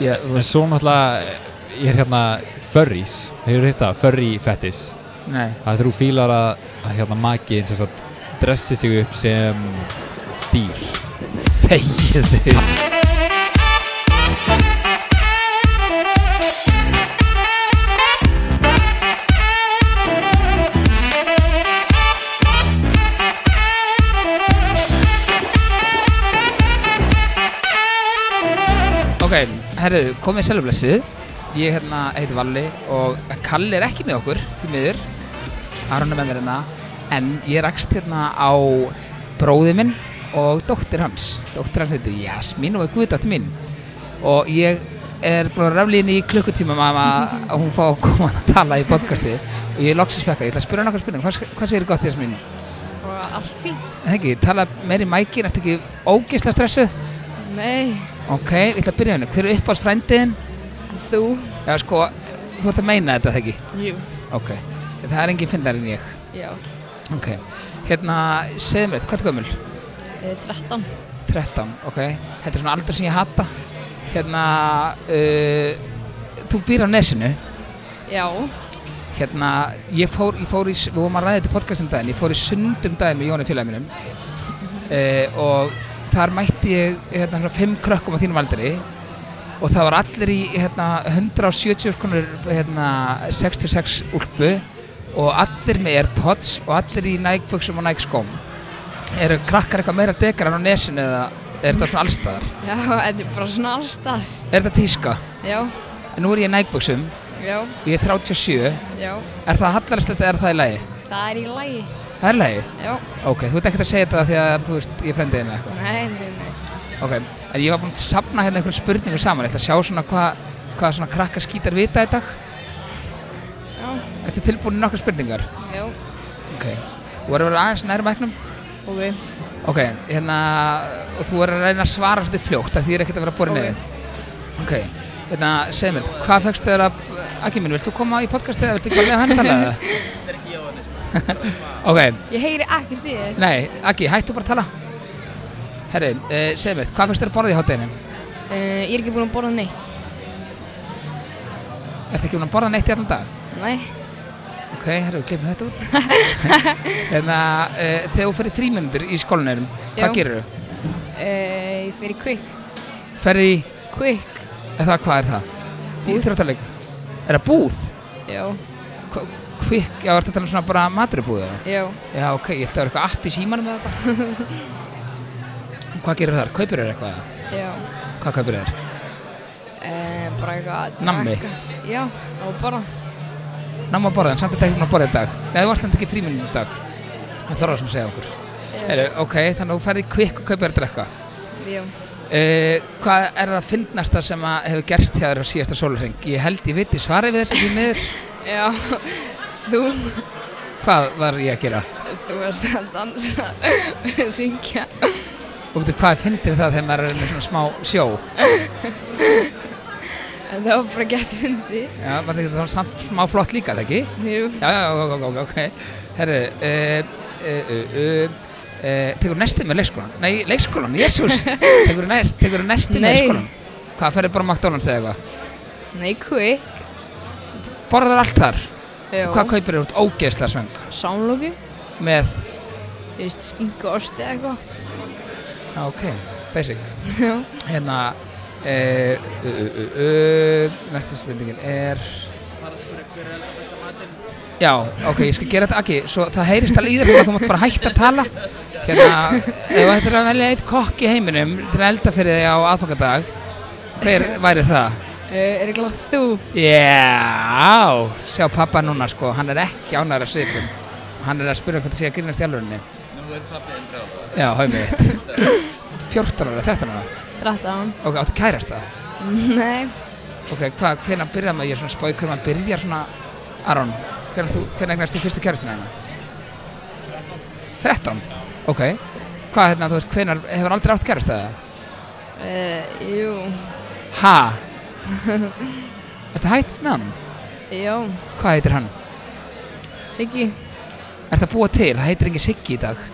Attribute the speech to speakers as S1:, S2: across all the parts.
S1: ég, þú
S2: En
S1: veist,
S2: svo náttúrulega ég er hérna furries, hefur hitt það, furry fetish
S1: nei
S2: Það er þú fílar að, að hérna makiðin sem sagt dressi sig upp sem dýr
S1: Þegið þig Ok, herriðu, komið sælublessið Ég hérna heiti Valli og Kalli er ekki með okkur, því miður Aron er með mér hérna En ég rakst hérna á bróði minn og dóttir hans Dóttir hans heiti Jasmín og er guðdóttir mín Og ég er búin að rafli inn í klukkutíma um að að hún fá að koma að tala í podcasti Og ég loksins fekk að ég ætla að spyrja hann okkur spurning Hvað, hvað segir gott Jasmín?
S3: og allt fínt.
S1: Það ekki, tala meir í mækin, ertu ekki ógisla stressuð?
S3: Nei,
S1: Ok, ég ætla að byrja henni, hver er uppáhalds frændiðin?
S3: þú?
S1: Já, sko, þú ert að meina þetta, þegar ekki?
S3: Jú.
S1: Ok. Það er engin fyndar en ég.
S3: Já,
S1: Ok. Hérna, segðu mér, hvað er gömul?
S3: e, 13.
S1: 13, ok. Þetta er svona aldur sem ég hata. Hérna, uh, þú býr á nesinu.
S3: Já,
S1: Hérna, ég fór, ég fór í, s- við vorum að ræða þetta í podcast um daginn, ég fór í sundum daginn með Jóni félagi mínum uh, og þar mætti ég hérna svona fimm krökkum á þínum aldri og það var allir í hérna 170 konur hérna 66 úlpu og allir með Airpods og allir í nækbuksum og nækskóm eru krakkar eitthvað meira dekar en á nesinu eða er þetta svona allstaðar?
S3: já, en bara svona allstað.
S1: Er þetta tíska?
S3: Já,
S1: En nú er ég í nækbuksum
S3: já,
S1: og ég er 37
S3: já,
S1: Er það hallarist þetta er það í lagi?
S3: það er í lagi.
S1: Það er lagi?
S3: Já,
S1: Ok, þú ert ekkert að segja þetta því að þú veist, ég frendi þinn eða eitthvað
S3: nei, nei, nei.
S1: Ok, en ég var búinn að sapna hérna einhverjum spurningum saman, ég ætla að sjá svona hvað hva svona krakka skítar vita í dag.
S3: Já,
S1: Þetta er tilbúin nokkar spurningar.
S3: já,
S1: Ok. Þú verður að vera aðeins nær mæknum.
S3: ok,
S1: Ok, hérna, og þú verður að reyna að svara svolítið fljótt að því er ekkert að vera borin
S3: Ok.
S1: okay. Ok, hérna, segð mér, hvað fegst þér að, Akki mín, vilt þú koma í podcastið eða vilt þú bara lega hann tala það? ok,
S3: Ég heyri ekkert í þér.
S1: nei, Akki, hættu bara að tala. Herri, uh, segð mér, hvað fegst þér að borða í hátæðinu?
S3: Uh, ég er ekki búin að borða neitt.
S1: Ertu ekki búin að borða neitt í allan dag?
S3: Nei,
S1: Ok, herru, glemum þetta út. Þannig að uh, þegar þú ferði þrýmyndur í skólanum,
S3: Já.
S1: hvað gerir þú?
S3: uh, ég fer í kvikk.
S1: Ferði í,
S3: Kvikk,
S1: eða það, hvað er það? Í
S3: Búð.
S1: Íþróttaleik. Er það búð?
S3: já,
S1: Hva- Kvikk, já, ertu að tala um svona bara maturubúð eða?
S3: já,
S1: Já, ok, ég held að það vera eitthvað app í símanum eða eitthvað. hvað gerir þar? Kaupir þér eitthvað? eða?
S3: já.
S1: Hvað kaupir þér?
S3: Uh, bara eitthvað að
S1: Nammi?
S3: drekka. Já, og borða.
S1: Náma að borða, en samt er þetta ekki búin að borða í dag. Nei, þú varst þetta ekki þrýmyndur í dag. Það þarf að sem segja okkur.
S3: Já,
S1: Heru, ok, þannig að þú ferði kvikk og kaupir þér að drekka.
S3: já.
S1: Uh, hvað er það fyndnasta sem að hefur gerst hjá þér á síðasta sólurring? Ég held ég viti svarið við þessu því miður.
S3: Já, þú,
S1: Hvað var ég að gera?
S3: þú varst að dansa og syngja.
S1: Og veitu hvað er fyndið það þegar maður er með svona smá sjó?
S3: En það var bara gett fundi.
S1: Já, var þetta ekki svona samt smá flott líka, það ekki?
S3: Jú,
S1: Já, já, ok, ok, ok, ok. Herru, uh, uh, uh, uh, uh, tekur næstið með leikskólan? Nei, leikskólan, jésús! tekur næst, tekur næstið með
S3: Nei.
S1: leikskólan? Hvað, ferðu bara á McDonalds eða eitthvað?
S3: nei, kvikk.
S1: Borðar allt þar?
S3: Já,
S1: Hvað kaupir þér út ógeðslega sveng?
S3: samlóku,
S1: Með,
S3: ég veist, skinka osti eða eitthvað.
S1: já, ok, basic.
S3: Já.
S1: Hérna uh, uh, uh, uh, Næsta spurningin er Já, ok, ég skal gera þetta ekki Svo það heyrist alveg í þér núna, Þú mátt bara hægt að tala Hérna, ef þú ættir að velja eitt kokk í heiminum Til að elda fyrir þig á aðfangadag Hver væri það?
S3: Uh, er ekki látt þú?
S1: Já, sjá pappa núna sko Hann er ekki ánæður að segja Hann er að spura hvað það sé að grínast í alvörinni Nú er pappið einn bráð Já, haumið 14 ára, 13 ára
S3: 13.
S1: Ok, áttu kærasta?
S3: Nei,
S1: Ok, hvað, hvernig byrjaði maður, ég er svona spáið hvernig maður byrjar svona, Aron, hvernig, þú, hvernig egnast þú fyrstu kærastina hérna? 13. Ok, hvað hérna, þú veist, hvernig hefur aldrei átt kærasta það?
S3: uh, jú,
S1: Ha? Ertu hætt með hann?
S3: já,
S1: Hvað heitir hann?
S3: Siggi,
S1: Er það búa til? Það heitir engin Siggi í dag.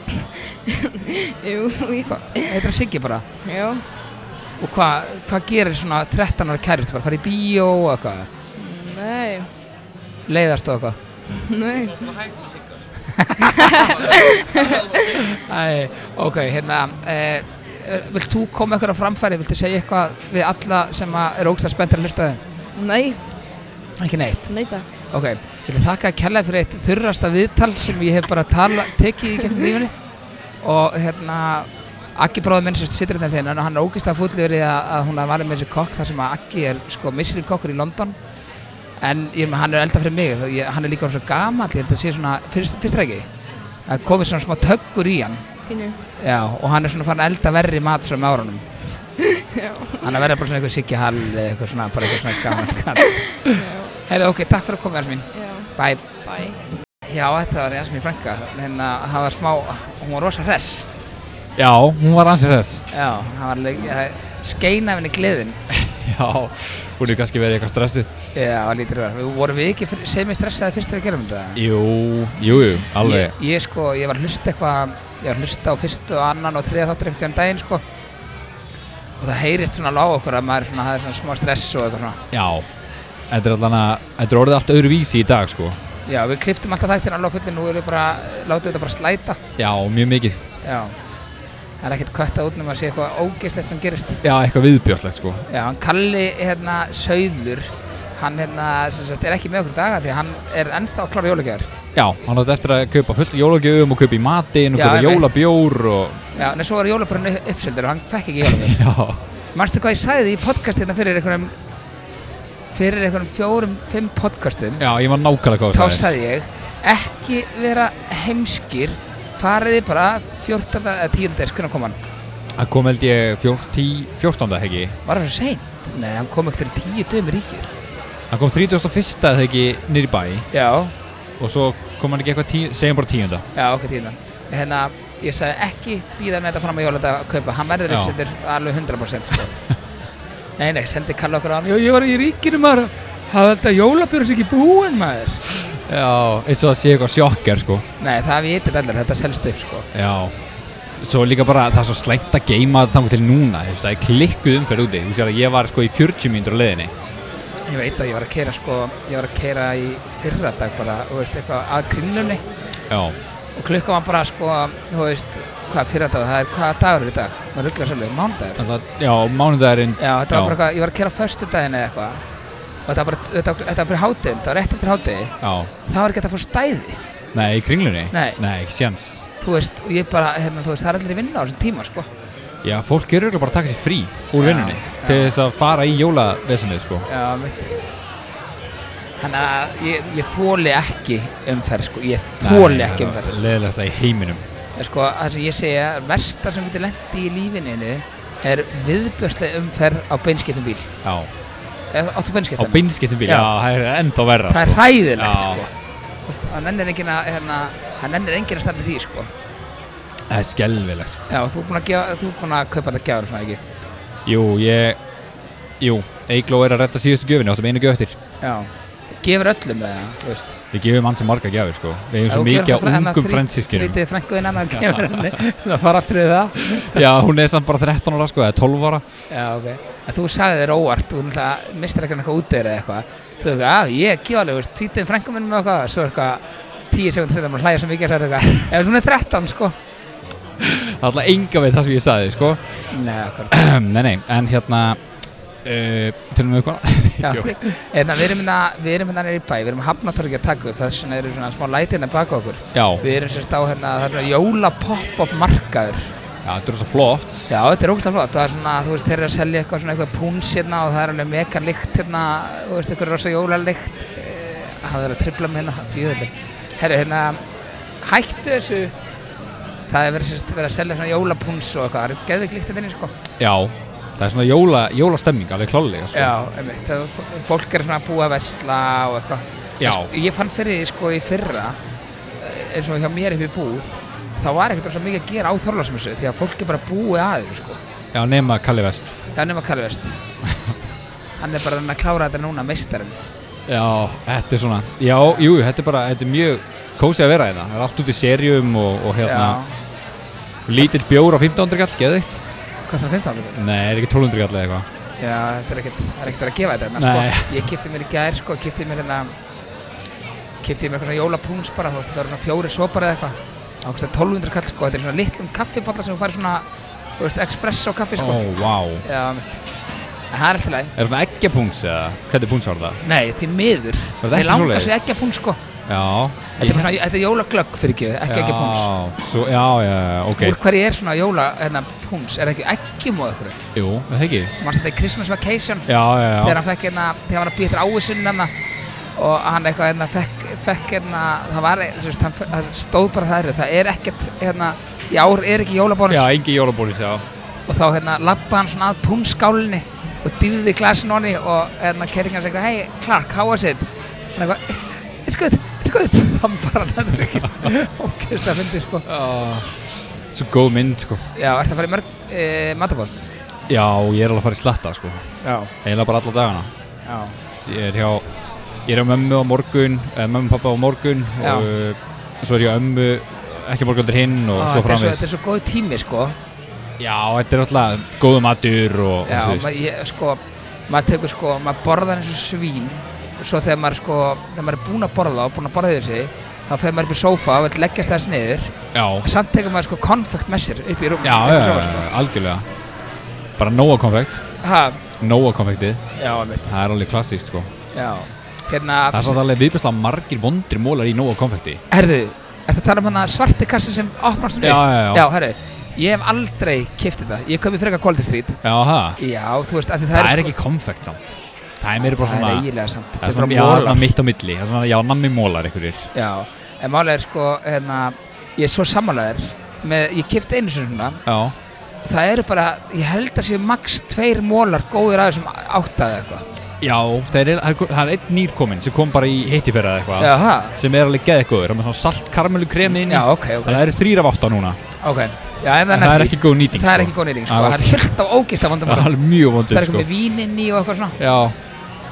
S3: jú, víst.
S1: Hva? Heitir hann Siggi bara?
S3: Já,
S1: og hvað hva gerir svona 13 ára kærust bara farið í bíó og eitthvað
S3: Nei,
S1: leiðast og eitthvað
S3: nei.
S1: Æ, ok, hérna e, vilt þú koma eitthvað á framfæri viltu segja eitthvað við alla sem að eru ógstað spenntir að hlusta á þeim
S3: Nei,
S1: ekki neitt,
S3: nei takk.
S1: ok vil ég þakka að kella fyrir eitt þurrasta viðtal sem ég hef bara tala, tekið í gegnum lífinu og hérna Aggi bróður minn sem situr þetta þegar hann er ógist að fullu verið að, að hún að vara með þessi kokk þar sem að Aggi er sko misrinn kokkur í London en ég, er með- hann er elda fyrir mig þá ég, hann er líka svo gamall, ég held að sé svona fyrst, fyrst ekki, það komið svona smá töggur í hann
S3: Pínu.
S1: Já, og hann er svona farin að elda verri mat svo með árunum
S3: Já.
S1: Hann er verið bara svona eitthvað Siggi Hall eða eitthvað svona, bara eitthvað svona gaman kall Heiðu, ok, takk fyrir að koma, Jasmín
S3: Já,
S1: Bæ
S3: bye.
S1: Já, þetta var Jasmín frænka Hérna, það var smá, hún var rosa hress
S2: Já, hún var ansið þess.
S1: Já, hann var leik, það skeina af henni gleðin
S2: Já, hún er kannski verið eitthvað stressi.
S1: Já, það lítur það Vorum við ekki fr- semi-stressaði fyrst að við gerum þetta?
S2: Jú, jú, jú, alveg.
S1: Ég, ég sko, ég var að hlusta eitthvað, ég var að hlusta á fyrstu og annan og þriða þáttur eitthvað sem daginn sko og það heyrist svona lág okkur að maður er svona, það er svona smá stress og eitthvað svona
S2: Já, þetta er allan að, þetta er orðið allt öðru vísi í dag, sko.
S1: Já, við kliftum alltaf þættir alveg á fulli, nú erum við bara, látum við þetta bara slæta.
S2: Já, mjög mikið.
S1: Já. Það er ekkert kötta út nema að sé eitthvað ógeðslegt sem gerist.
S2: Já, eitthvað viðbjörnslegt, sko.
S1: Já, hann Kalli, hérna, Sauður, hann hérna, sem sagt, er ekki með okkur í dag af því að hann er ennþá að klára jólagjör.
S2: Já, hann átti eftir að kaupa fullt af jólagjöfum og kaupa í matinn og
S1: Já,
S2: kaupa
S1: einmitt.
S2: jólabjór og...
S1: Já, en svo var jólabrunni uppseldur og hann fekk ekki jólagjör.
S2: Já,
S1: Manstu hvað ég sagði því í podcast hérna fyrir einhverjum, fyrir einhverjum fjórum, fimm podcastum,
S2: já, ég var nákvæmlega góð
S1: þá sagði ég, ekki vera heimskir, fariði bara 14. eða 10. dags, hvernig kom hann?
S2: Það kom held ég 14. 14. heggi.
S1: Var það svo seint? Nei, hann kom ekkert fyrir tíu dögum í ríkið.
S2: Það kom 31. heggi niður í bæ
S1: Já.
S2: og svo kom hann ekki eitthvað tí... segjum bara 10.
S1: Já, okkur tíðan. Hérna, ég sagði ekki býða með þetta fram að jóladag að kaupa. Hann verður
S2: Já.
S1: uppsettur alveg 100% sko. nei, nei, sendi kalla okkur á hann. Jó, ég var í ríkinu maður. Það var alltaf jólabjörn sem ekki búin maður.
S2: Já, eins og það sé eitthvað sjokker, sko.
S1: Nei, það vitið allir. Þetta selst upp sko.
S2: Já Svo líka bara það er svo slæmt að geima þangur til núna, þú veist, það er klikkuð umferð úti Þú sér að ég var sko í 40 mínútur á leiðinni
S1: Ég veit að ég var að keira sko, ég var að keira í fyrra dag bara, þú veist, eitthvað að kringlunni
S2: Já,
S1: og klukka var bara sko, þú veist, hvað fyrra dag, það er hvaða dagur er í dag? Maður rugglar svolítið, mánudagur.
S2: alltaf, já, mánudagurinn
S1: Já,
S2: Já.
S1: þetta var bara eitthvað, ég var að kera föstudaginn eða eitthvað og þetta var bara, þetta, var- þetta var fyrir hátíðin, það var rétt eftir hátíði
S2: Já,
S1: það var ekki hægt að fá stæði,
S2: nei, í kringlunni
S1: Nei.
S2: ekki séns
S1: þú veist, og ég bara, hérna, þú veist, það er allir í vinna á þessum tíma, sko
S2: Já, fólk er auðvitað bara að taka sér frí úr
S1: Já,
S2: vinnunni
S1: já.
S2: Til þess að fara í jólavesanið, sko
S1: Já, mitt Þannig að ég, ég þóli ekki umferð, sko, ég þóli
S2: Nei,
S1: ekki umferð
S2: Leðilegt það í heiminum
S1: En Sko, það sem ég segja, versta sem getur lendi í lífininu er viðbjörslega umferð á beinskiptum bíl
S2: Já,
S1: eða
S2: á
S1: áttu beinskiptum
S2: beinskiptum bíl,
S1: Já.
S2: já, það er ennþá verra
S1: það er hræðilegt,
S2: Já.
S1: sko hann ennir enginn að, hérna, hann ennir enginn að standa í því, sko
S2: Það er skelfilegt, sko
S1: Já, þú ert búinn að, gefa, þú ert búinn að kaupa þetta gjafur svona ekki
S2: Jú, ég, jú, Eigló er að retta síðustu gjöfinni, áttum einu gjöf eftir
S1: Já Gefur öllum með það, þú veist
S2: Við gefum hans marga gjafir sko Við hefum svo mikið af ungum fransískinum
S1: Frítið frænguðinn annað gefur henni Það fara aftur við það
S2: Já, hún er samt bara 13 ára sko, eða 12 ára
S1: Já, ok En þú sagði þér óvart Þú náttúrulega mistir eitthvað eitthvað út eða eitthvað Þú veist, já, ég gef alveg, þú veist Tvítið frængum minn með eitthvað Svo eitthvað Tíu sekundir setja maður hlæja svo mikið Það er eitthvað Ef þú er 13, sko
S2: Það er alltaf enga við það sem ég sagði sko
S1: Nei, okkur
S2: Nei, nei, en hérna uh, Tölum við
S1: Já,
S2: eitthvað?
S1: en við erum hérna, við erum hérna nýri bæ, við erum hafnatorgi að taka upp, þess vegna eru svona smá lætina baka okkur.
S2: Já,
S1: Við erum sérst á hérna, það er svona jólapopp-up markaður.
S2: já, þetta er svo flott
S1: Já, þetta er ógæslega flott, það er svona, þú veist, þeir eru að selja eitthvað svona eitthvað púns hérna og það er alveg mega lykt hérna, þú veist, eitthvað rosa jólalikt Eh, það er að tripla með hérna, djúðileg Herru, hérna, hættu þessu Það er verið, sérst, verið að selja svona jólapúns og eitthvað, það er geðvig lykt þetta inni, sko
S2: Já, það er svona jóla, jólastemming alveg klálega sko
S1: Já, einmitt, það, f- fólk er svona að búa að vesla og eitthvað
S2: Já.
S1: Sko, Ég fann fyrir því, sko, í fyrra eh, eins og hjá mér upp í búð þá var ekkert rosa mikið að gera á Þorlásmessu því að fólk er bara búið að þessu, sko
S2: já nema Kalli Vest
S1: Já, nema Karl Vest Hann er bara að reyna að klára þetta núna meistarinn
S2: Já, þetta er svona Já, jú, þetta er bara, þetta er mjög kósi að vera þetta Það er allt út í serjum og, og hérna
S1: Já,
S2: Lítill bjór á 15. kall, geðvikt
S1: ok Hvað er það 15 ára?
S2: Nei, er ekki 1200 kall eða eitthvað?
S1: Já, þetta er ekkert, það er ekkert að gefa þetta hérna,
S2: Nei.
S1: sko. Ég kipti mér í gær, sko, kipti mér hérna, kipti mér eitthvað svona jólapúns bara, þú veist, það eru svona fjóri sopar eða eitthvað. Það var eitthvað 1200 kall, sko, þetta er svona litlum kaffipalla sem þú færir svona, þú veist, espresso kaffi,
S2: Ó,
S1: sko.
S2: vá.
S1: Já, mitt. En það er alltaf leið.
S2: Er það eggjapungs eða? Hvernig pungs var það?
S1: Nei, því miður.
S2: Var það
S1: Mér
S2: ekki
S1: langar
S2: svoleiðis?
S1: svo ekki að pún, sko.
S2: Já.
S1: Þetta er, bara svona, þetta er jólaglögg fyrir ekki, ekki ekki púns.
S2: Já, svo, já, já, já, ok.
S1: Úr hverju er svona jóla, hérna, púns? Er það ekki ekki móð okkur?
S2: Jú, er það ekki?
S1: Manst þetta í Christmas Vacation?
S2: Já, já, já.
S1: Þegar hann fekk hérna, þegar hann var að býja eftir ávísunum hérna og hann eitthvað hérna fekk, fekk hérna, það var, þú veist, hann, það stóð bara það eru, það er ekkert, hérna, í ár er ekki jólabónus
S2: Já, engi jólabónus, já.
S1: og þá hérna lappa hann svona að púnskálinni og dýði glasin honni og hérna kerringan hans eitthvað, hey Clark, how was it? Hann eitthvað, it's good, it's good, hann bara þetta er ekki, ógeðst að fyndi sko.
S2: Já. Svo góð mynd, sko.
S1: Já, ertu að fara í mörg e, matabóð?
S2: Já, ég er alveg að fara í slatta, sko.
S1: Já,
S2: Eiginlega bara alla dagana.
S1: já,
S2: Ég er hjá, ég er hjá mömmu á morgun, eða mömmu og pappa á morgun
S1: Já.
S2: og uh, svo er ég á ömmu, ekki morgundur hinn og
S1: Ó,
S2: svo
S1: þetta, er svo, þetta
S2: framvegis.
S1: er svo góð tími sko.
S2: Já, þetta er alltaf góðu matur og,
S1: Já,
S2: og þú
S1: maður,
S2: veist.
S1: ég, sko, maður tekur sko, maður borðar eins og svín svo þegar maður sko, þegar maður er búinn að borða og búinn að borða yfir sig þá fer maður upp í sófa og vil leggjast þess niður
S2: Já,
S1: samt tekur maður sko konfekt með sér upp í rúm
S2: já, já, já,
S1: sko.
S2: algjörlega bara nóa konfekt
S1: Ha,
S2: nóa konfektið,
S1: já, mitt
S2: það er alveg klassíkt sko.
S1: Já, hérna
S2: það er satt alveg viðbjörslega margir vondri mólar í nóa konfekti
S1: Herðu, ertu að tala um hana svarti kassi sem opnast
S2: já, já, já,
S1: já, herðu Ég hef aldrei kiftið það, ég köpi frekar Quality Street
S2: já það,
S1: Já, þú veist, af því það,
S2: það er
S1: sko-
S2: ekki konfekt samt það er meira bara
S1: Það er
S2: svona
S1: eiginlega
S2: það er
S1: samt, þetta er
S2: svona, já, það
S1: bara
S2: er
S1: mólar
S2: svona mitt á milli það er svona, já, nammi mólar einhverjir
S1: Já, en málega er sko, hérna, ég er svo sammálaður með, ég kifti einu sinni svona,
S2: já,
S1: það eru bara, ég held að séu max tveir mólar góðir að þessum áttaði eitthvað.
S2: já, það er, það er einn nýrkominn sem kom bara í hittifera eitthvað
S1: Já, ha?
S2: sem er alveg geðgóður, það er með svona salt karmelu kremi inn í.
S1: Já, ok, ok,
S2: það eru þrýr af átta núna
S1: ok. Já, en
S2: en það er ekki góð nýting
S1: það er
S2: sko.
S1: ekki góð nýting,
S2: Já,
S1: sko, það er fullt af ógist af vandum
S2: það
S1: mólar.
S2: er mjög
S1: Það er
S2: vondur
S1: eitthvað
S2: sko.
S1: með víninn í og eitthvað svona.
S2: já,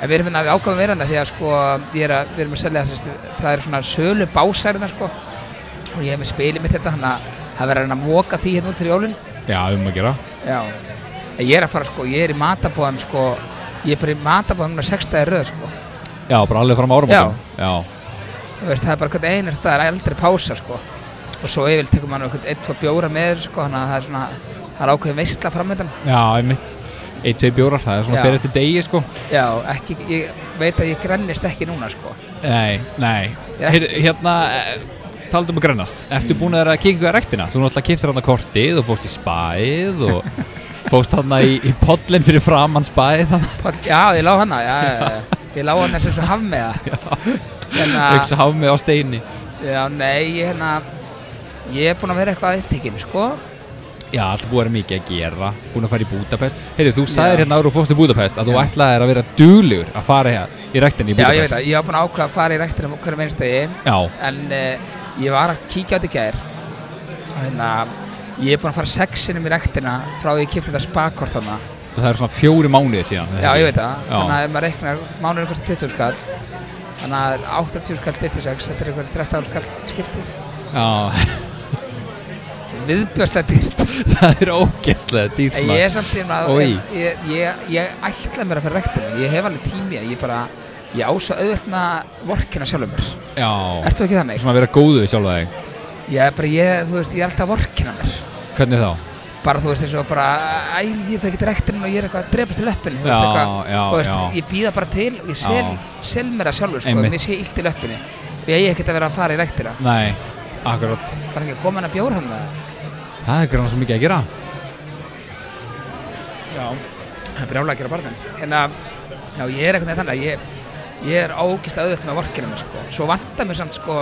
S1: En við erum hérna, við ákvæmum verðan það því að sko, ég er að, við erum að selja það, sérst, það er svona sölu básærina sko og ég hef með spilið mitt þetta, hann að það verður hann að móka því hérna út fyrir jólun.
S2: já, um að gera
S1: Já, en ég er að fara sko, ég er í matabóðum sko, ég er bara í matabóðum núna sextaði röð sko.
S2: Já, bara alveg fram á áramótum Já,
S1: Þú veist, það er bara hvernig einast það er aldrei pása sko. Og svo yfir tekur maður einhvern eitt, tvo bjóra með þér sko, þannig að það er svona, það er ákveðin veistla framöndan.
S2: já, einmitt Eitt, tvei bjórar, það er svona
S1: Já.
S2: fyrir eftir degi, sko
S1: Já, ekki, ég veit að ég grennist ekki núna sko.
S2: Nei, nei
S1: Ég er
S2: Heyrðu, Hérna, eh, talandi um að grannast Ertu búin að vera að kikka rektina? Þú náttúrulega kiptir hann að kortið og fórst í spæð og fórst hann í, í podlinn fyrir framann spæð þannig
S1: Páll, já, ég lá hana, já, já, já. Ég lá hana sem svo haf með það. Hérna,
S2: að hugsa hafði mig á steini
S1: já, nei, ég hérna, ég er búinn að vera eitthvað upptekinn sko.
S2: Já, allt búið að vera mikið að gera Búin að fara í Budapest Heyrðu, þú
S1: Já.
S2: sagðir hérna ára og fórst í Budapest að þú
S1: Já.
S2: ætlaðir að vera duglegur að fara hér í rektinni í
S1: Já, ég veit
S2: Budapest
S1: það, ég var búinn að ákvaða að fara í rektinum hverjum einstegi.
S2: Já,
S1: en uh, ég var að kíkja á þetta í gær og hérna ég er búinn að fara sex sinnum í rektina frá því ég kipti þetta spakort þarna
S2: og það er svona fjóri mánuðið síðan
S1: já ég veit það,
S2: Já.
S1: þannig að ef maður reiknar mánuður kostar 20 skall þannig að það er 80 skall til 6 þetta er eitthvað 13 skall skiptis
S2: Já,
S1: viðbjörslega dýrt
S2: það er ógeðslega dýrt
S1: en ég
S2: maður.
S1: er samt í að
S2: Oj.
S1: ég, ég, ég, ég ætla mér að fara í rektina ég hef alveg tími að ég bara ég á svo auðvelt með að vorkina sjálfum mér
S2: Já,
S1: ertu ekki þannig?
S2: svona að vera góðu við sjálfa þig
S1: ég er bara, ég, þú veist, ég er alltaf að vorkina mér
S2: Hvernig þá?
S1: bara þú veist eins og bara æ, ég fer ekki rekturinn og ég er eitthvað að drepast í löppinni þú veist
S2: Já,
S1: eitthvað,
S2: já,
S1: þú veist,
S2: já.
S1: ég býða bara til og ég sel,
S2: Já.
S1: sel mér það sjálfur sko,
S2: Einmitt.
S1: mér sé illt í löppinni og ég hef ekkert að vera að fara í rektina
S2: Nei, akkurat
S1: það er ekki að koma hann að bjóra hann það
S2: Það er grann svo mikið að gera
S1: já, það er brjálega að gera barnum hérna, já, ég er eitthvað þannig að ég, ég er ógislega auðvöld með vorkina mér sko, svo vantar mér samt sko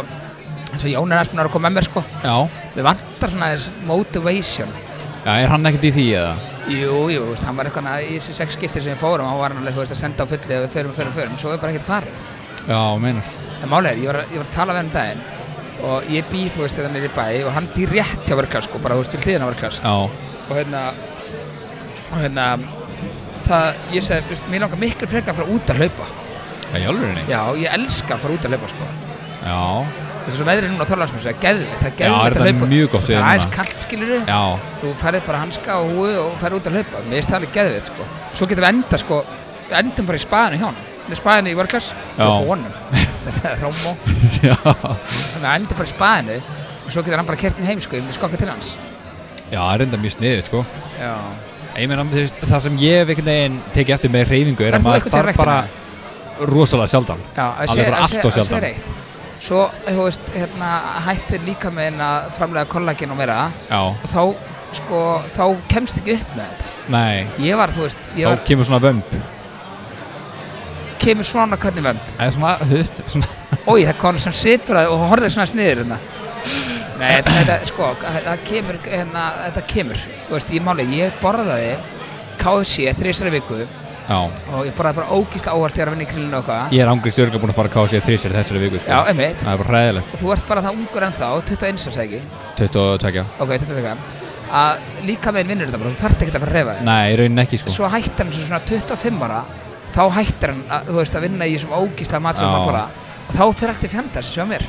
S1: eins og Jón er alls búinn að koma með mér sko
S2: Já,
S1: við vantar svona þess motivation
S2: já er hann ekkert í því eða?
S1: Jú, jú, þú veist, hann var eitthvað að- í þessi sex skiptir sem við fórum, hann var hann alveg, þú veist, að senda á fulli að við förum, förum, förum, svo er bara ekkert farið.
S2: Já, meinar
S1: En málið er, ég var, að- ég var að tala við hann um daginn og ég bý, þú veist, þetta nýri bæ og hann bý rétt hjá verklás, sko, bara, þú veist, við hliðina á verklás.
S2: Já,
S1: Og hérna, og hérna, það, ég segi, þú veist, mér langar miklu frekar að fara út að hlaupa.
S2: það er jálfurinni
S1: Já, ég elska að fara út að hlaupa, sko.
S2: Já,
S1: Þú er svo veðrið núna á Þorláksmessu, það er geðveitt, það
S2: Já,
S1: er geðveitt
S2: er
S1: að
S2: þetta
S1: hlaupa.
S2: mjög gott
S1: Það er
S2: veður
S1: aðeins
S2: núna?
S1: kallt skilur við,
S2: Já,
S1: þú ferðið bara hanska og húi og ferðið út að hlaupa, mér finnst það alveg geðveitt sko. Svo getum við enda sko, við endum bara í spaðinu hjá honum, við spaðinu í vörklass, svo
S2: Já.
S1: honum, þess að Rómó,
S2: já,
S1: þannig að endum bara í spaðinu og svo getur hann bara kertin heim sko, ég myndi skokka til hans.
S2: já, það er enda mjög sniðið, sko.
S1: Já,
S2: Ég meina, þú veist, það sem ég hef einhvern veginn tekið eftir með reyfingu er
S1: Ferð
S2: að
S1: þú
S2: maður
S1: eitthvað til
S2: þarf bara rosalega sjaldan.
S1: já, að
S2: Alveg
S1: sé-
S2: bara
S1: að
S2: allt of
S1: sé- að sé
S2: sjaldan.
S1: reitt. Svo, þú veist, hérna, hættir líka með hérna að framlega kollagen og meira
S2: Já,
S1: og þá, sko, þá kemst ekki upp með þetta.
S2: nei,
S1: Ég var, þú veist, ég var,
S2: þá kemur svona vömb.
S1: kemur svona hvernig vönd
S2: Það er svona, þú veist, svona,
S1: Ói, það kom svona svipurað og horfði svona sniður hérna Nei, þetta, þetta sko, það það kemur, hérna, þetta kemur Þú veist, ég máli, ég borðaði KFC þrísari viku
S2: já.
S1: og ég borðaði bara ógísla óvart þegar að vinna í krillinu og eitthvað
S2: Ég er ángrið stjórnlega búin að fara að kása ég þrísir þessari viku,
S1: Já,
S2: sko.
S1: einmitt
S2: Það er bara hræðilegt,
S1: Og þú ert bara það ungur ennþá, 21 árs eða ekki
S2: 22.
S1: Ok, 22 vika Að líka með vinnur þetta bara, þú þarft ekki að fara að reyfa þig
S2: Nei, í rauninni ekki, sko.
S1: Svo hættir hann svo svona 25 ára Þá hættir hann, að, þú veist, að vinna í þessum ógísla mat sem
S2: Já.
S1: hann borða Og þá fyrir allt í fjandar, sem sjá mér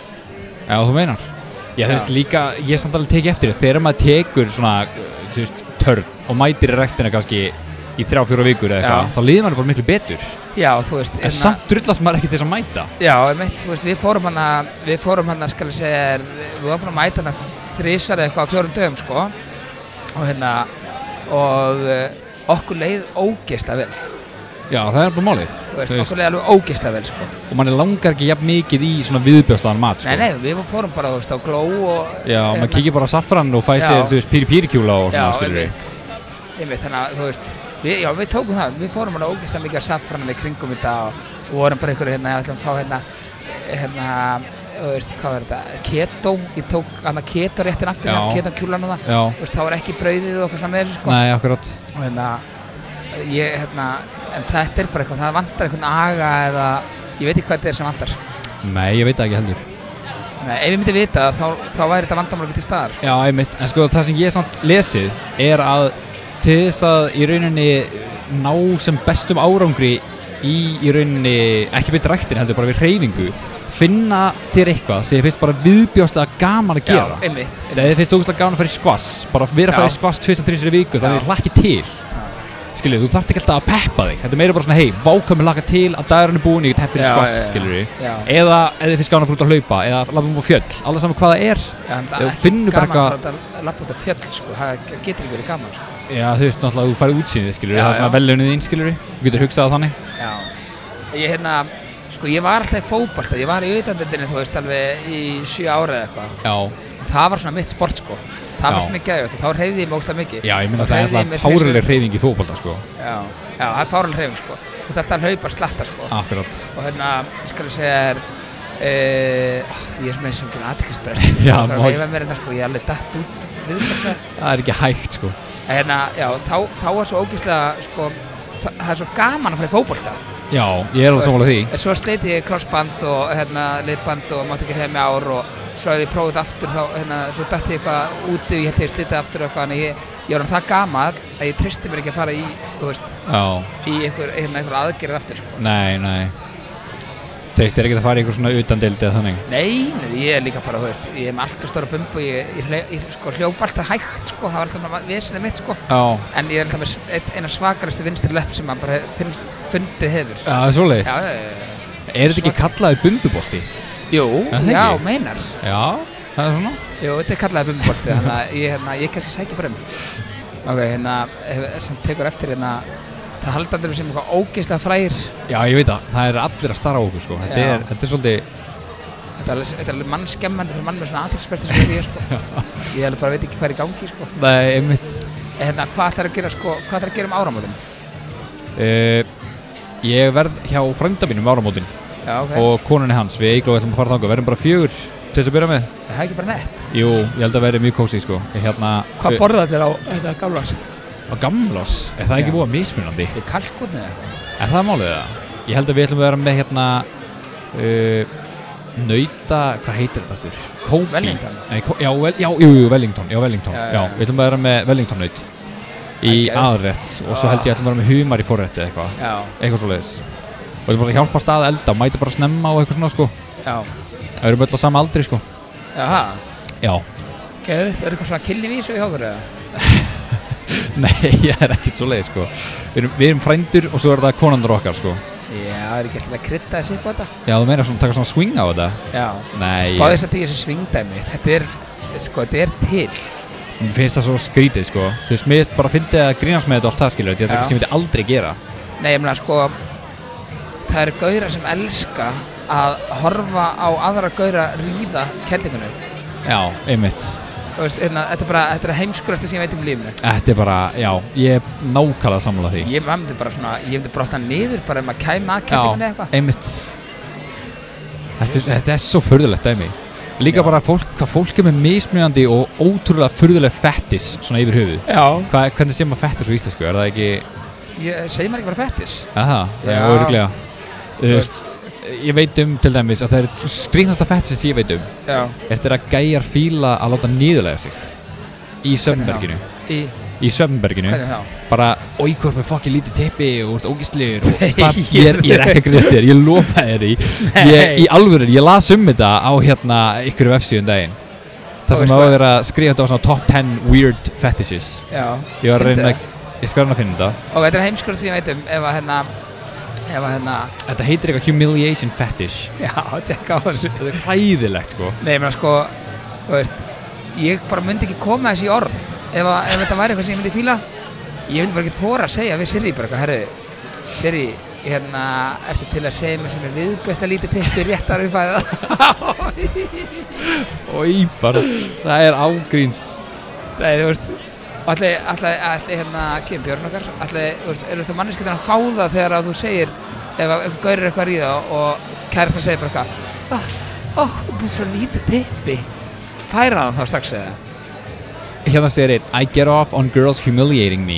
S2: Já, þú meinar. Já, þú
S1: Já.
S2: veist, líka, ég er samt alveg tekið eftir því, þegar maður tekur svona, uh, þú veist, törn og mætir í rektina kannski í þrjá, fjóra vikur eða
S1: Já.
S2: eitthvað, þá liður maður bara miklu betur.
S1: Já, þú veist, hérna,
S2: En samt drullast maður ekki þess að mæta.
S1: Já, einmitt, þú veist, við fórum hana, við fórum hana, skal ég segja, þér, við vorum búin að mæta hana þrísar eða eitthvað á fjórum dögum, sko, og hérna, og eh, okkur leið ógeisla vel,
S2: Já, það er bara málið.
S1: þú veist,
S2: Þú veist.
S1: okkur leið alveg ógeisla vel, sko.
S2: Og manni langar ekki jafn mikið í svona viðbjörnslegan mat, sko.
S1: Nei, nei, við fórum bara, þú veist, á gló og...
S2: Já,
S1: hérna,
S2: maður kíkir bara á safran og fæ
S1: Já.
S2: sér, þú veist, píri píri kjúla og
S1: Já,
S2: svona, skilur við.
S1: einmitt, einmitt, þannig að, þú veist, við, já, við tókum það, við fórum hana ógeisla mikið að safranum í kringum þetta og, og vorum bara ykkur, hérna, ég ætlum að fá, hérna, hérna, þú veist, hvað var þetta, keto, ég tók hana keto réttin aftur,
S2: Já.
S1: hérna, keto kjúlan og það,
S2: Já,
S1: Þú veist, þá er ekki brauðið og eitthvað svona með þessu sko
S2: nei, akkurat.
S1: og hérna, ég, hérna en þetta er bara eitthvað, það vantar einhvern aga eða, ég veit ekki hvað þetta er sem vantar
S2: Nei, ég veit það ekki heldur.
S1: Nei, ef ég myndi vita það, þá, þá væri þetta vandamál ekki til staðar sko.
S2: Já, einmitt, en sko það sem ég samt lesið er að til þess að í rauninni ná sem bestum árangri í í rauninni, ekki beint ræktin heldur bara við hreyfingu, finna þér eitthvað sem þið finnst bara viðbjóðslega gaman að gera.
S1: Já, einmitt,
S2: Þegar þið finnst ógustlega gaman að fara í skvass, bara vera að fara
S1: Já.
S2: í skvass 2-3 viku, þannig
S1: Já.
S2: að þið hlakki til. Skilju, þú þarft ekki alltaf að peppa þig, þetta er meira bara svona, hei, vákvæmi laka til að dagarinn er búin, ég get heppir í
S1: Já,
S2: skvass,
S1: já, já.
S2: skilju.
S1: Já.
S2: Eða, eða þið finnst gaman að fara út að hlaupa, eða lafa um á fjöll, alveg saman hvað það er,
S1: Já, en
S2: Ef
S1: það
S2: þú
S1: er ekki
S2: finnur bara
S1: gaman að fara út að lappa út af fjöll sko, það getur ekki verið gaman sko.
S2: Já, þú veist náttúrulega að þú færi útsýnið, skilur
S1: Já,
S2: það er svona
S1: já.
S2: velunnið þín, skilur Þú getur hugsað á þannig
S1: Já, ég hérna, sko ég var alltaf í fótbalta, ég var í auðvitaðendinni þú veist alveg í 7 ára eða eitthvað
S2: Já,
S1: það var svona mitt sport sko það
S2: Já.
S1: fannst mér gæðið og þá reyði ég mig ógstlega mikið
S2: já, ég meina
S1: Þá
S2: það er
S1: hreyfði ég mig
S2: alltaf
S1: þrisvar-
S2: fárileg hreyfing í fótbolta, sko
S1: já, já, það er fáraleg hreyfing sko þú þarf að hlaupa slatta sko
S2: Akkurat
S1: og hérna, ég skal segja þér Uh, ég er sem eins og ekki aðtekisbrest
S2: Já,
S1: það er
S2: má-
S1: að veifa mér hérna sko, ég er alveg datt út við þetta sko
S2: Það er ekki hægt, sko
S1: En hérna, já, þá, þá er svo ógíslega sko, það, það er svo gaman að fara í fótbolta
S2: Já, ég er alveg
S1: Þú
S2: sammála því
S1: en svo sleiti ég crossband og hérna, liðband og mátti ekki hreyfa mig ár og svo ef ég prófið þetta aftur þá, hérna, svo dætti ég eitthvað úti og ég held ég slitið aftur og eitthvað en ég, ég var um það gamall að ég tristi mér ekki að fara í, þú veist,
S2: Já,
S1: í einhver, hérna, einhver aðgerðir aftur, sko.
S2: nei, nei Treystir ekki að fara í einhver svona utandeildi eða þannig
S1: Nei, nei, ég er líka bara, þú veist, ég er með allt og stóra bumbu, ég, ég, hle- ég sko, hljópa alltaf hægt, sko, það var alltaf svona vesinni mitt, sko,
S2: Já,
S1: en ég er alltaf með s- einn- eina svakaristu vinstri lepp sem maður bara finn, fundið hefur.
S2: já, svoleiðis
S1: Já, já, já, já.
S2: Er þetta ekki kallaði bumbubolti?
S1: Jú,
S2: Já, það
S1: já,
S2: ekki.
S1: meinar.
S2: Já, það er svona
S1: Jú, þetta er kallaði bumbubolti, þannig að ég, hérna, ég kannski sækja bara um. Ok, hérna, hef- sem tekur eftir, hérna, það halda allir sem eitthvað ógeðslega frægir.
S2: Já, ég veit það, það er allir að starra á okkur, sko Þetta
S1: Já.
S2: er, þetta er svolítið
S1: Þetta er alveg, þetta er alveg mannskemmandi fyrir mann með svona aðtryggsbæstu sem ég, er, sko. Ég alveg bara veit ekki hvað er í gangi, sko.
S2: Nei, einmitt
S1: En Hérna, hvað ætlar að gera, sko, hvað ætlar að gera um áramótin?
S2: uh, Ég verð hjá frænda mínum um áramótin
S1: Já, ok.
S2: og konunni hans, við Eigló ætlum að fara þangað, verðum bara fjögur til þess að byrja með
S1: það er ekki bara nett.
S2: Jú, ég held að verði mjög kósi sko Ég hérna, Eh,
S1: Hvað borða allir á þetta gamla?
S2: á gamlás, er það ekki
S1: Já.
S2: búið að mismunandi?
S1: Í kalkunni eða? eitthvað?
S2: Er það málið það? Ég held að við ætlum að vera með hérna uh, Nauta, hvað heitir þetta aftur? Kobe
S1: Wellington.
S2: Nei, Ko- já, vel, já, jú, jú, Wellington, já, Wellington
S1: Já,
S2: já,
S1: já, já.
S2: Við ætlum að vera með Wellington naut í
S1: Það er geðveikt.
S2: aðrætt og svo held ég að ætlum að vera með humar í forrætti eða eitthvað
S1: Já,
S2: eitthvað svo leiðis og þetta bara að hjálpa stað að elda, mæta bara snemma og eitthvað svona sko
S1: já.
S2: Það eru bara saman aldri sko
S1: Jaha,
S2: Já
S1: geðvitt, verður eitthvað svona kynlífísu í okkur eða?
S2: Nei, ég er ekkert svo leið sko Við erum, við erum frændur og svo er það konandur okkar sko
S1: Já, er ekki alltaf að krydda þessi upp á þetta?
S2: Já, þú meira svona taka svona swing á þetta
S1: Já,
S2: Nei,
S1: spáði
S2: ég,
S1: þess að því þessi svingdæmi, þetta er, sko, þetta er til.
S2: mér finnst það svo skrítið sko Þú veist, mér finnst bara að fyndi að grínast með þetta og allt það skilur Þetta er
S1: Já.
S2: eitthvað sem ég myndi aldrei gera
S1: Nei, ég meina, sko, það eru gauðra sem elska að horfa á aðra gauðra ríða kellingunum.
S2: Já, einmitt
S1: Þú veist, hérna, þetta er bara, þetta er heimskurasta sem ég veit um í lífinu.
S2: Þetta er bara, já, ég er nákvæmlega sammála því
S1: Ég maður myndi bara svona, ég myndi brotna niður bara ef maður kæma að kellingunni eða eitthvað.
S2: einmitt þetta, er- þetta er svo furðulegt dæmi Líka
S1: Já.
S2: bara fólk, hvað fólk er með mismunandi og ótrúlega furðuleg fettis svona yfir höfuð
S1: Já.
S2: Hva, Hvernig sé maður fettis á íslensku? Er það ekki,
S1: Ég segi maður ekki bara fettis.
S2: aha, það
S1: Já.
S2: er örglega Þú
S1: Þú
S2: veist, ég veit um til dæmis að það er skrýnasta fettis sem ég veit um
S1: Já.
S2: er þetta að gæjar fíla að láta nýðulega sig í sömnberginu
S1: Í,
S2: í sömnberginu,
S1: hvernig þá?
S2: bara oikur með fokkin lítið tippi og úrst ógistlegur og það, ég, er, ég er ekki að grýst þér, ég lofaði þér því ég, í alvöru, ég las um þetta á hérna ykkur vefsíðum daginn
S1: Og
S2: það sem á
S1: veistu
S2: að
S1: hvað?
S2: vera að skrifa þetta á svona top 10 weird fetishes
S1: Já.
S2: ég var að
S1: Fyndi
S2: reyna,
S1: það.
S2: ég skal reyna að finna þetta
S1: Og þetta er heimskurasta sem ég veit um ef að hérna, ef að hérna,
S2: þetta heitir eitthvað humiliation fetish
S1: já, tjekka á þessu.
S2: þetta er hræðilegt sko
S1: Nei, ég meina sko, þú veist, ég bara myndi ekki koma þessi orð ef, að, ef þetta væri eitthvað sem ég myndi fíla. Ég myndi bara ekki þóra að segja við Siri bara eitthvað, herru, Siri, hérna, ertu til að segja mér sem er viðbest að lítið tippi réttar við fæða?
S2: oi, bara, það er ágríns
S1: Nei, þú veist, allir, allir, allir, hérna, kemur Björn okkar, allir, þú veist, eru þú manneskjöldin að fá það þegar að þú segir, ef að einhver gaurir eitthvað að ríða og kærast að segja bara eitthvað, ah, ó, þú búið svo lítið tippi, færa hann þá strax eða?
S2: hérna segir einn I get off on girls humiliating me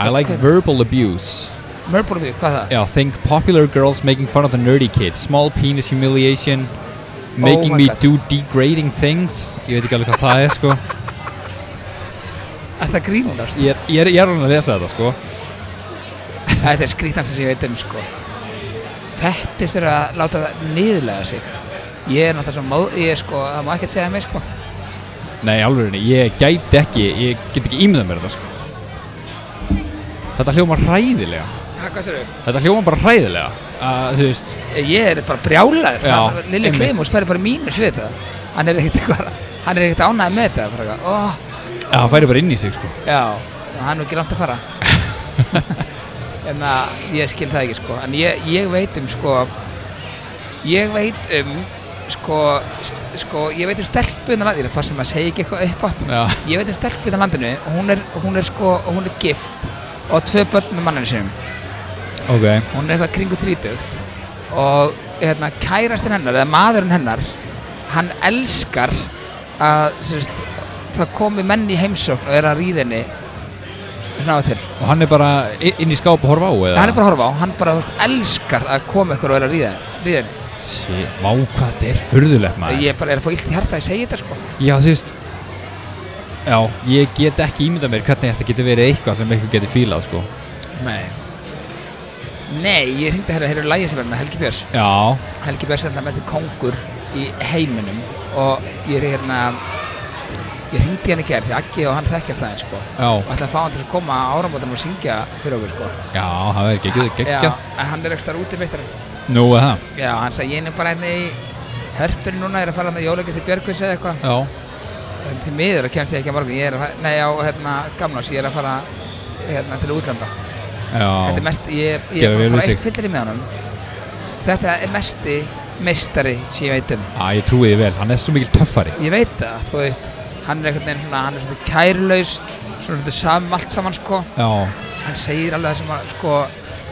S2: I like
S1: Hvernig?
S2: verbal abuse
S1: Mörburbíu, hvað er það?
S2: Yeah, think popular girls making fun of the nerdy kid, small penis humiliation, making
S1: Oh my
S2: me
S1: God.
S2: do degrading things. Ég veit ekki alveg hvað það er, sko.
S1: Er það grínast?
S2: Ég er, ég er, ég er alveg að lesa þetta, sko.
S1: Þetta er skrítnast sem ég veit um, sko. Fettis er að láta það niðurlega sig. Ég er náttúrulega svo móð, ég er sko, það má ekkert segja mér, sko.
S2: Nei, alveg, ég gæti ekki, ég get ekki ímyndað mér þetta, sko. Þetta hljóma ræðilega.
S1: Hæ, hvað sér þau?
S2: Þetta hljóma bara ræðilega. Uh, þú veist,
S1: Ég er bara brjálaður.
S2: Já,
S1: Já, Lilli
S2: einmitt.
S1: Kleimús færi bara mínus við þetta. Hann er ekkert eitthvað, hann er ekkert ánægð með þetta. Bara, eitthvað, oh,
S2: að það færi bara inn í sig, sko.
S1: já, hann er nú ekki langt að fara. en að ég skil það ekki, sko. En ég, ég veit um, sko, ég veit um, sko, st- sko, ég veit um stelpunar að þér, bara sem að segja ekki eitthvað upp átt.
S2: Já,
S1: Ég veit um stelpu í það landinu, hún er, hún er sko, hún er gift og á tvö börn með manninu sinum.
S2: ok.
S1: Hún er eitthvað kringu þrítugt og hérna, kærastinn hennar, eða maðurinn hennar, hann elskar að sérst, það komi menn í heimsókn og er að ríða henni svona á og til.
S2: Og hann er bara i- inn í skáp og horfa á, eða?
S1: Hann er bara að horfa á, hann bara þú veist, elskar að koma ykkur og er að ríða ríða henni.
S2: Sí, vá, hvað þetta er furðulegt, maður.
S1: Ég bara er að fá illt í hjarta að ég segi þetta sko.
S2: Já, þú veist Já, ég get ekki ímyndað mér hvernig þetta getur verið eitthvað sem eitthvað getur fílað, sko
S1: Nei. Nei, ég hringdi hérna, hérna er lægið sem er með Helgi Björns.
S2: Já,
S1: Helgi Björns er alltaf mestir kongur í heiminum og ég er hérna ég hringdi hann í gerð því Aggi og hann þekkjast aðeins sko og
S2: já,
S1: ætlaði að fá hann til að koma á áramótanum og syngja fyrir okkur sko
S2: já, það verður ekki, getur
S1: Já,
S2: gekkja
S1: en hann er ekki starf úti meistar
S2: Nú, er það,
S1: Já, hann sagði ég er nú bara hérna í hörpunni núna ég er að fara hann að jólækja til Björgvins eða eitthvað
S2: já,
S1: en til miður að kemst ég ekki að morgun ég er að fara, nei á hérna gamlás ég er að fara hérna til útlanda Þetta er
S2: já
S1: mest, ég, ég
S2: Gerðu vel
S1: er bara að
S2: við
S1: fara
S2: sig.
S1: eitt fyllir í með honum Þetta er mesti meistari sem ég veit um
S2: Á, ég trúi því vel, hann er svo mikil töffari
S1: Ég veit það, þú veist, hann er einhvern veginn svona, hann er svona kærlaus, svona þetta sam, allt saman sko.
S2: Já,
S1: Hann segir alveg það sem að, sko,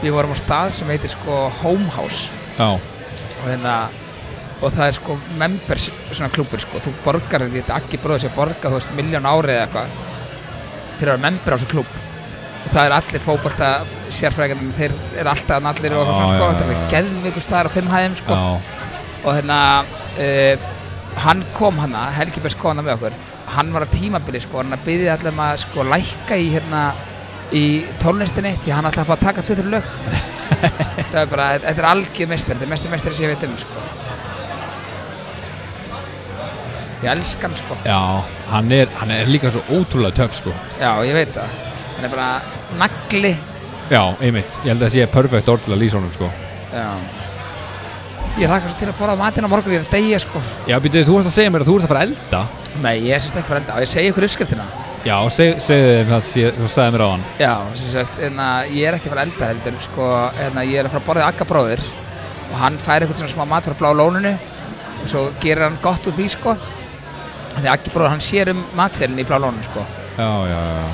S1: við vorum á stað sem heitir sko Home House
S2: já,
S1: og hérna, og það er sko members svona klúpur sko, þú borgar, ég veit ekki bróðið sér borga, þú veist, miljón árið eða eitthvað fyrir að vera member á þessu klúb og það er allir fótbolta sérfrækjarnir, þeir eru alltaf þarna allir og
S2: Já,
S1: eitthvað svona sko,
S2: já,
S1: þetta
S2: já,
S1: er
S2: já.
S1: alveg geðveikur staðar á fimm hæðum sko
S2: já
S1: og hérna uh, hann kom hana, Helgi Bers kom hana með okkur hann var á tímabili sko, hann byggði allir um að sko lækka í hérna í tónlistinni því hann ætlaði að fá að taka tveitur lög það er bara, þetta er algjör mestar, þetta er mestar mestari sem ég veit um sko ég elska hann sko
S2: Já, hann er, hann er líka svo ótrúlega töff sko
S1: já, ég veit það hann er bara nagli
S2: Já, einmitt, ég held að það sé perfekt orð til að lýsa honum sko
S1: já ég hlakka svo til að borða matinn á morgun ég er að deyja sko
S2: Já, býtu, þú varst að segja mér að þú ert að fara að elda
S1: nei, ég sést ekki fyrir elda og ég segi ykkur uppskriftina
S2: Já, seg, segðu þeim það, sé- þú sagði mér á hann
S1: já, sem sagt, hérna, ég er ekki að fara að elda heldur sko, hérna, ég er að fara að borða Agga bróðir og hann fær eitthvað svona smá mat frá blá lóninu og svo gerir hann gott úr því sko því Aggi bróður hann sér um matselin í blá lóninu sko
S2: Já, já, já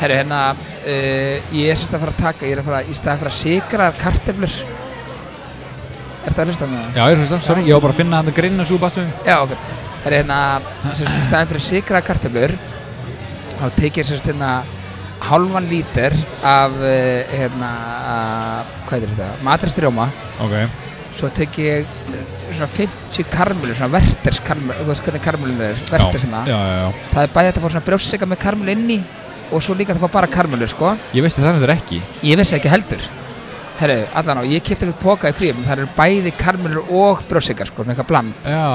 S1: Herru, hérna, uh, ég er sérst að fara að taka, ég er að fara, í staðan fyrir að sikra karteflur. Ertu að hlusta með það?
S2: Já, ég hlusta, sorry, ég var bara að finna hann að grinna svo bastu
S1: Já, ok. Herru, hérna, sérst, í staðan fyrir að sikra karteflur, þá tekið sérst hérna hálfan lítir af, uh, hérna, uh, hvað er þetta, matristrjóma,
S2: Ok,
S1: svo tekið ég eh, svona 50 karmelu, svona verterskarmelu, þú veist hvernig karmelun það er, verters hérna.
S2: já, já, já
S1: Það er bæði hægt að fá svona brjóstsika með karmelu inni og svo líka hægt að fá bara karmelu, sko.
S2: Ég veistu það er ekki
S1: Ég vissi ekki heldur Herru, allan á, ég kipti eitthvað póka í fríum Það eru bæði karmelur og brjósikar sko, svona eitthvað bland
S2: Já,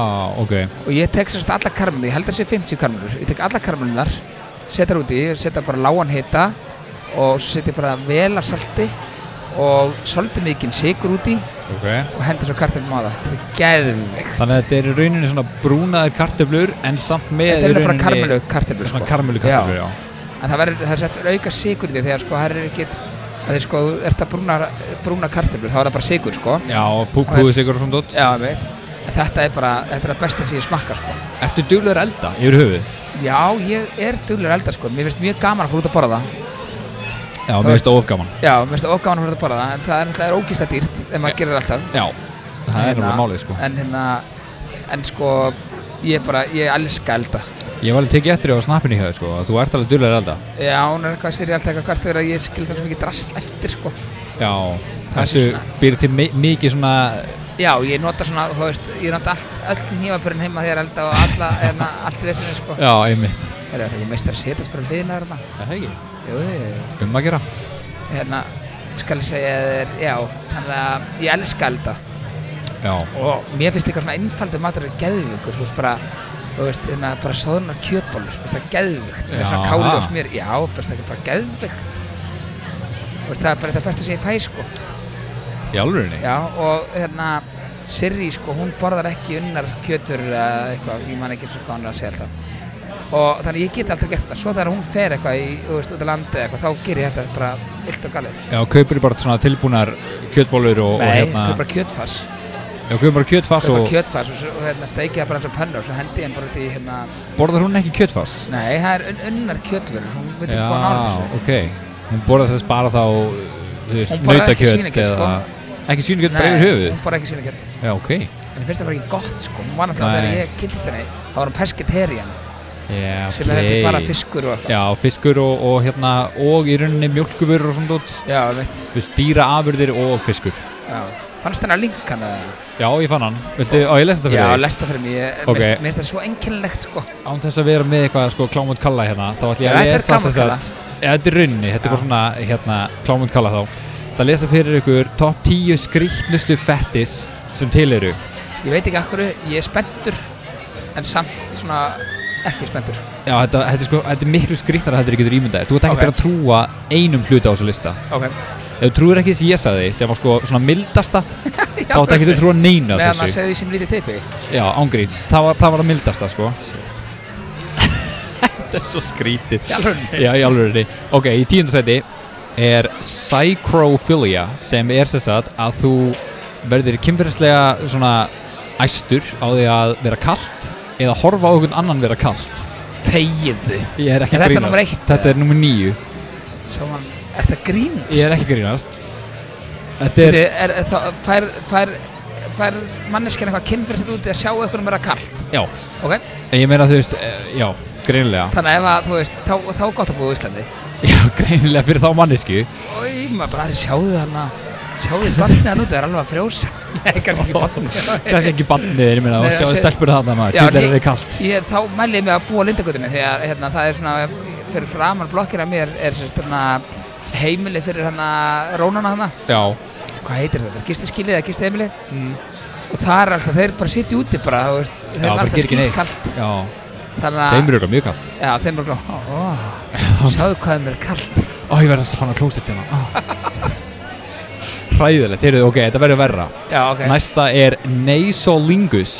S2: ok
S1: Og ég tek sérst alla karmelur, ég held að sé 50 karmelur Ég tek alla karmelunar, setja út í Setja bara lágan hita Og svo setja bara vel af salti Og svolítið mikinn sigur út í
S2: Ok
S1: Og henda svo kartelum á það Þetta er geðveikt
S2: Þannig að þetta er í rauninni svona brúnaðir kartöflur en samt með
S1: Þetta
S2: í
S1: eru bara
S2: rauninni-
S1: karmelu kartelur
S2: Svona
S1: sko.
S2: karmelu kartöflur, já.
S1: En það, verður, það er sett auka sigur í því Þegar sko, það er ekki að þið sko, þú ert að brúna, brúna kartelur Þá er það bara sigur sko
S2: Já, og pú, púðu sigur og svona dótt
S1: Já, ég veit En Þetta er bara, þetta er að besta sem ég smakka sko.
S2: Ertu duglegur að elda yfir höfuð?
S1: Já, ég er duglur elda sko. Mér finnst mjög gaman að fara út að borða það
S2: Já, mér finnst það ofgaman
S1: Já, mér finnst það gaman að fara út að borða það En það er náttúrulega ógísla dýrt Ef maður gerir alltaf
S2: Já, það er
S1: Hérna,
S2: náttúrulega málið sko
S1: En hérna, en sko Ég bara, ég elska elda
S2: Ég var alveg tekið eftir því á snappinu hjá þér sko að Þú ert alveg duglegur að elda
S1: Já, hún er eitthvað sér ég alltaf eitthvað hvert þegar að ég skil það sem ekki drast eftir sko
S2: Já,
S1: Það er
S2: ertu
S1: svona-
S2: býr til mi mikið svona
S1: Já, ég nota svona, þú veist Ég nota allt, öll nýmapurinn heima þegar elda og alla, hérna, allt vesinni sko
S2: Já, einmitt
S1: Það er eitthvað meistar að setjast bara hliðina þarna
S2: Er Það ekki
S1: Jú, jú, jú
S2: Um að gera
S1: hérna, skal ég segja þér, já, þannig að ég elska elda
S2: Já,
S1: og mér finnst líka svona einfaldur matur að geðvíkur, þú veist bara, þú veist, hérna, bara soðunar kjötbólur, þú veist það geðvíkt, með
S2: Já.
S1: svona káli og smér, já, best það er bara geðvíkt, þú veist það er bara þetta besta sem ég fæ, sko,
S2: í alvörinni
S1: já, og hérna, Sirri, sko, hún borðar ekki unnar kjötur eða eitthvað, ég man ekki svo hvað hann er að segja alltaf og þannig að ég get alltaf gert það, svo þegar hún fer eitthvað í, þú veist, út á landi eða eitthvað, þá ger ég þetta bara vilt og galið.
S2: Já, kaupir bara svona tilbúnar kjötbólur og, og
S1: Nei,
S2: hérna
S1: það er bara kjötfass.
S2: Já, kaupir bara kjötfass
S1: kaupa
S2: og
S1: kjötfars og, svo- og hérna, steikið það bara eins og pönnu og svo hendi ég hann bara út í hérna
S2: borðar hún ekki kjötfass?
S1: Nei, það er un unnar kjötvörur, hún veit ekki hvað nála
S2: Já,
S1: þessu
S2: ok Hún borðar þess bara þá þú veist,
S1: Hún borðar ekki
S2: nautakjöt
S1: svínakjöt, sko.
S2: eða- Ekki svínakjöt bara
S1: Nei,
S2: yfir höfuð
S1: Hún bara ekki svínakjöt
S2: Já, ok
S1: En ég finnst það bara ekki gott sko, hún var náttúrulega
S2: Nei.
S1: þegar ég kynntist henni Þá var hún pesketerian
S2: yeah,
S1: sem er þetta bara fiskur og eitthvað
S2: Já, fiskur og, og hérna og í rauninni mjölkuvörur og svona dót
S1: Já, ég veit
S2: Þú veist, dýra afurðir og fiskur
S1: já. Fannst henni að linka hann eða?
S2: Já, ég fann hann Viltu, á ég lesa þetta
S1: Já,
S2: fyrir þig?
S1: lesta fyrir mig, ég,
S2: Ok.
S1: okay. mér finnst það svo einkennilegt sko
S2: Án þess að vera með eitthvað sko klámund kalla hérna þá ætlum ég
S1: Já,
S2: að
S1: þetta er
S2: lesa
S1: Klámund
S2: þess að Já, þetta er runni, þetta
S1: Já.
S2: er bara svona hérna klámund kalla þá Það lesa fyrir ykkur top 10 skrýtnustu fettis sem til eru
S1: Ég veit ekki akkur, ég er spenntur en samt svona ekki spenntur
S2: Já, þetta, þetta, er sko, þetta er miklu skrýtnar að þetta er ekki ímyndaðir. Þú ert ekki
S1: Ok.
S2: okay. að trúa einum hluti á þessu lista.
S1: Ok
S2: Ef þú trúir ekki þess ég sagði, sem var sko svona mildasta, þá ert ekki að trúa neina af
S1: Meðan að
S2: þessu.
S1: segja því sem lítið teipi
S2: Já, ángríns. Það var það var að mildasta, sko. þetta er svo skrítið.
S1: Já,
S2: Já, í alveg. Ok, í tíundasæti er psychrophilia, sem er sem sagt að þú verðir kynferðislega svona æstur á því að vera kallt eða horfa á einhvern annan vera kallt.
S1: Þegiðu
S2: Ég er ekki að
S1: Er þetta
S2: grínast.
S1: númer eitt,
S2: Þetta er nummer níu.
S1: Svo hann, er þetta grínast?
S2: Ég er ekki að grínast Þetta
S1: Bíddu,
S2: er
S1: er, er, þá, fær, fær, fær manneskjan eitthvað kynfyrsett út í að sjá eitthvað um vera kallt
S2: Já,
S1: ok?
S2: ég meina þú veist eh, Já, greinilega
S1: Þannig að ef að þú veist, þá, þá er gott að búa í Íslandi
S2: Já, greinilega fyrir þá mannesku
S1: Í, maður bara er sjáðu hann að sjáðu barnið hann út, það er alveg að frjósa Nei, kannski ekki barnið
S2: Kanski ekki bannið, ég meina
S1: Nei,
S2: Og
S1: það
S2: sjáðu
S1: sé-
S2: stelpur þarna maður Tjóðlega er þið kallt
S1: ég, þá mæli ég mig að búa á Lindagutinni því að hérna, það er svona, fyrir framan blokkir að mér er sérst hérna heimili fyrir hérna rónana hana
S2: Já
S1: hvað heitir þetta, gistiskilið eða gistiheimilið og það er alltaf, þeir bara sitja úti bara, þú veist,
S2: Mm.
S1: þeir
S2: Já,
S1: er
S2: bara
S1: alltaf
S2: gerir ekki neitt.
S1: skýtkalt
S2: Já,
S1: þannig að,
S2: þeim eru eitthvað mjög kallt
S1: já, þeim eru glá, ó, sjáðu hvað þeim er kalt
S2: Ó, ég verði að fann að klósett hérna Ó. Hræðilegt, heyrðu, ok, þetta verður verra
S1: já, ok,
S2: Næsta er nasolingus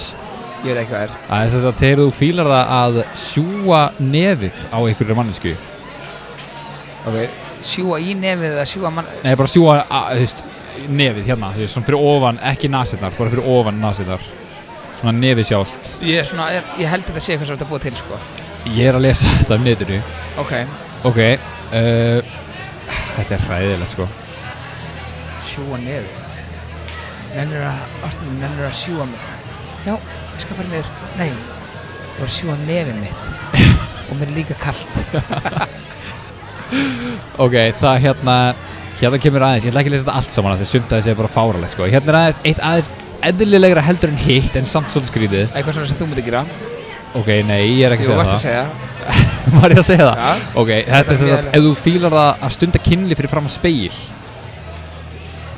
S1: ég veit ekki hvað er
S2: Það er þess að þegar þú fílar það að sjúa nefið á einhverju mannesku
S1: ok, sjúa í nefið eða sjúa mann,
S2: Nei, bara sjúa, að, þú veist, nefið hérna, þú veist, svona fyrir ofan, ekki nasinnar, bara fyrir ofan nasinnar Svona nefið sjálft
S1: ég er svona, er, ég held að þetta sé eitthvað sem þetta búið til, sko
S2: Ég er að lesa þetta um netinu
S1: ok,
S2: Ok, uh, þetta er hræðilegt sko
S1: sjúa nefið nennir að, ástum, nennir að sjúa mig já, ég skal fara niður, nei þú var að sjúa nefið mitt og mér er líka kalt
S2: Ok, það hérna Hérna kemur aðeins, ég ætla ekki að lesa þetta allt saman af því sumt að þessi er bara fáralegt sko Hérna er aðeins, eitt aðeins eðlilegra heldur en hitt en samt svolítið skrýtið
S1: eitthvað svona sem þú myndir gera,
S2: Ok, nei, ég er ekki
S1: jú,
S2: að
S1: varst að
S2: segja
S1: segja
S2: það Var ég að segja það?
S1: Já.
S2: Ok,
S1: Þetta
S2: þetta
S1: er
S2: er sem sagt,
S1: leiðilegt.
S2: ef þú fílar það að stunda kynli fyrir fram að speil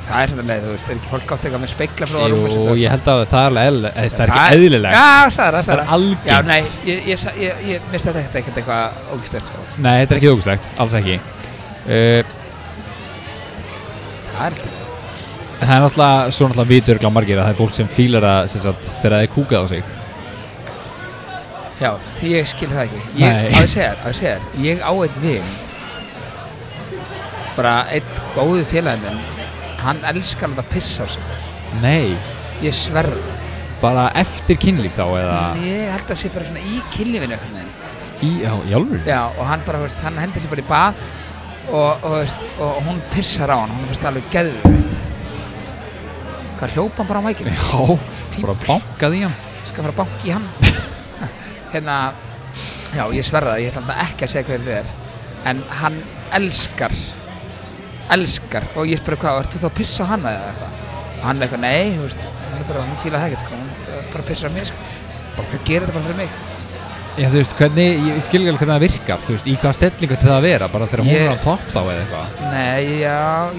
S1: það er svona leið, þú veist, er ekki fólk átt eitthvað með speikla frá
S2: Jú, ég held að það er alveg eðlilegt, eða, það er ekki eðlilegt
S1: Já, sagði það,
S2: Það
S1: sagði
S2: er algengt
S1: Já, nei, ég, ég, sa- ég, ég misti þetta ekkert ekkert eitthvað ógislegt sko.
S2: Nei, þetta er ekki þókuslegt, alls ekki uh,
S1: Það er alltaf
S2: Það er náttúrulega, svo náttúrulega vitur margir að það er fólk sem fílar það sem sagt, þegar það er kúkað á sig
S1: Já, því ég skil það ekki Ég,
S2: Nei.
S1: á ég segja, þér, á ég segja, þér, ég á einn vin Bara einn góðu félagi minn Hann elskar að það pissa á sig
S2: Nei,
S1: Ég sverð
S2: bara eftir kynlíf þá eða
S1: Ég held að það sé bara svona í kynlífinu einhvern veginn
S2: Í, já, í alvöru?
S1: Já, og hann bara, þú veist, hann hendur sér bara í bað og, og, þú veist, og hún pissar á hann Hún finnst það alveg geðvögt Hvað hljópa hann bara á mækinu?
S2: Já, bara bankað í hann
S1: skal fara að banki í hann hérna já ég sverða það, ég ætla alltaf ekki að segja hver þið er en hann elskar elskar og ég spurði hvað, ertu þá að pissa á hann eða eitthvað og hann er eitthvað, nei, þú veist hann er bara, hún fílaði það ekkert sko, hún er bara pissar á mig sko, bara hann gerir þetta bara fyrir mig
S2: Já, þú veist, hvernig, ég skil ekki alveg hvernig það virkar Þú veist, í hvaða stellingu til það að vera Bara þegar hún
S1: Ég-
S2: er á topp þá eða eitthvað
S1: nei, já,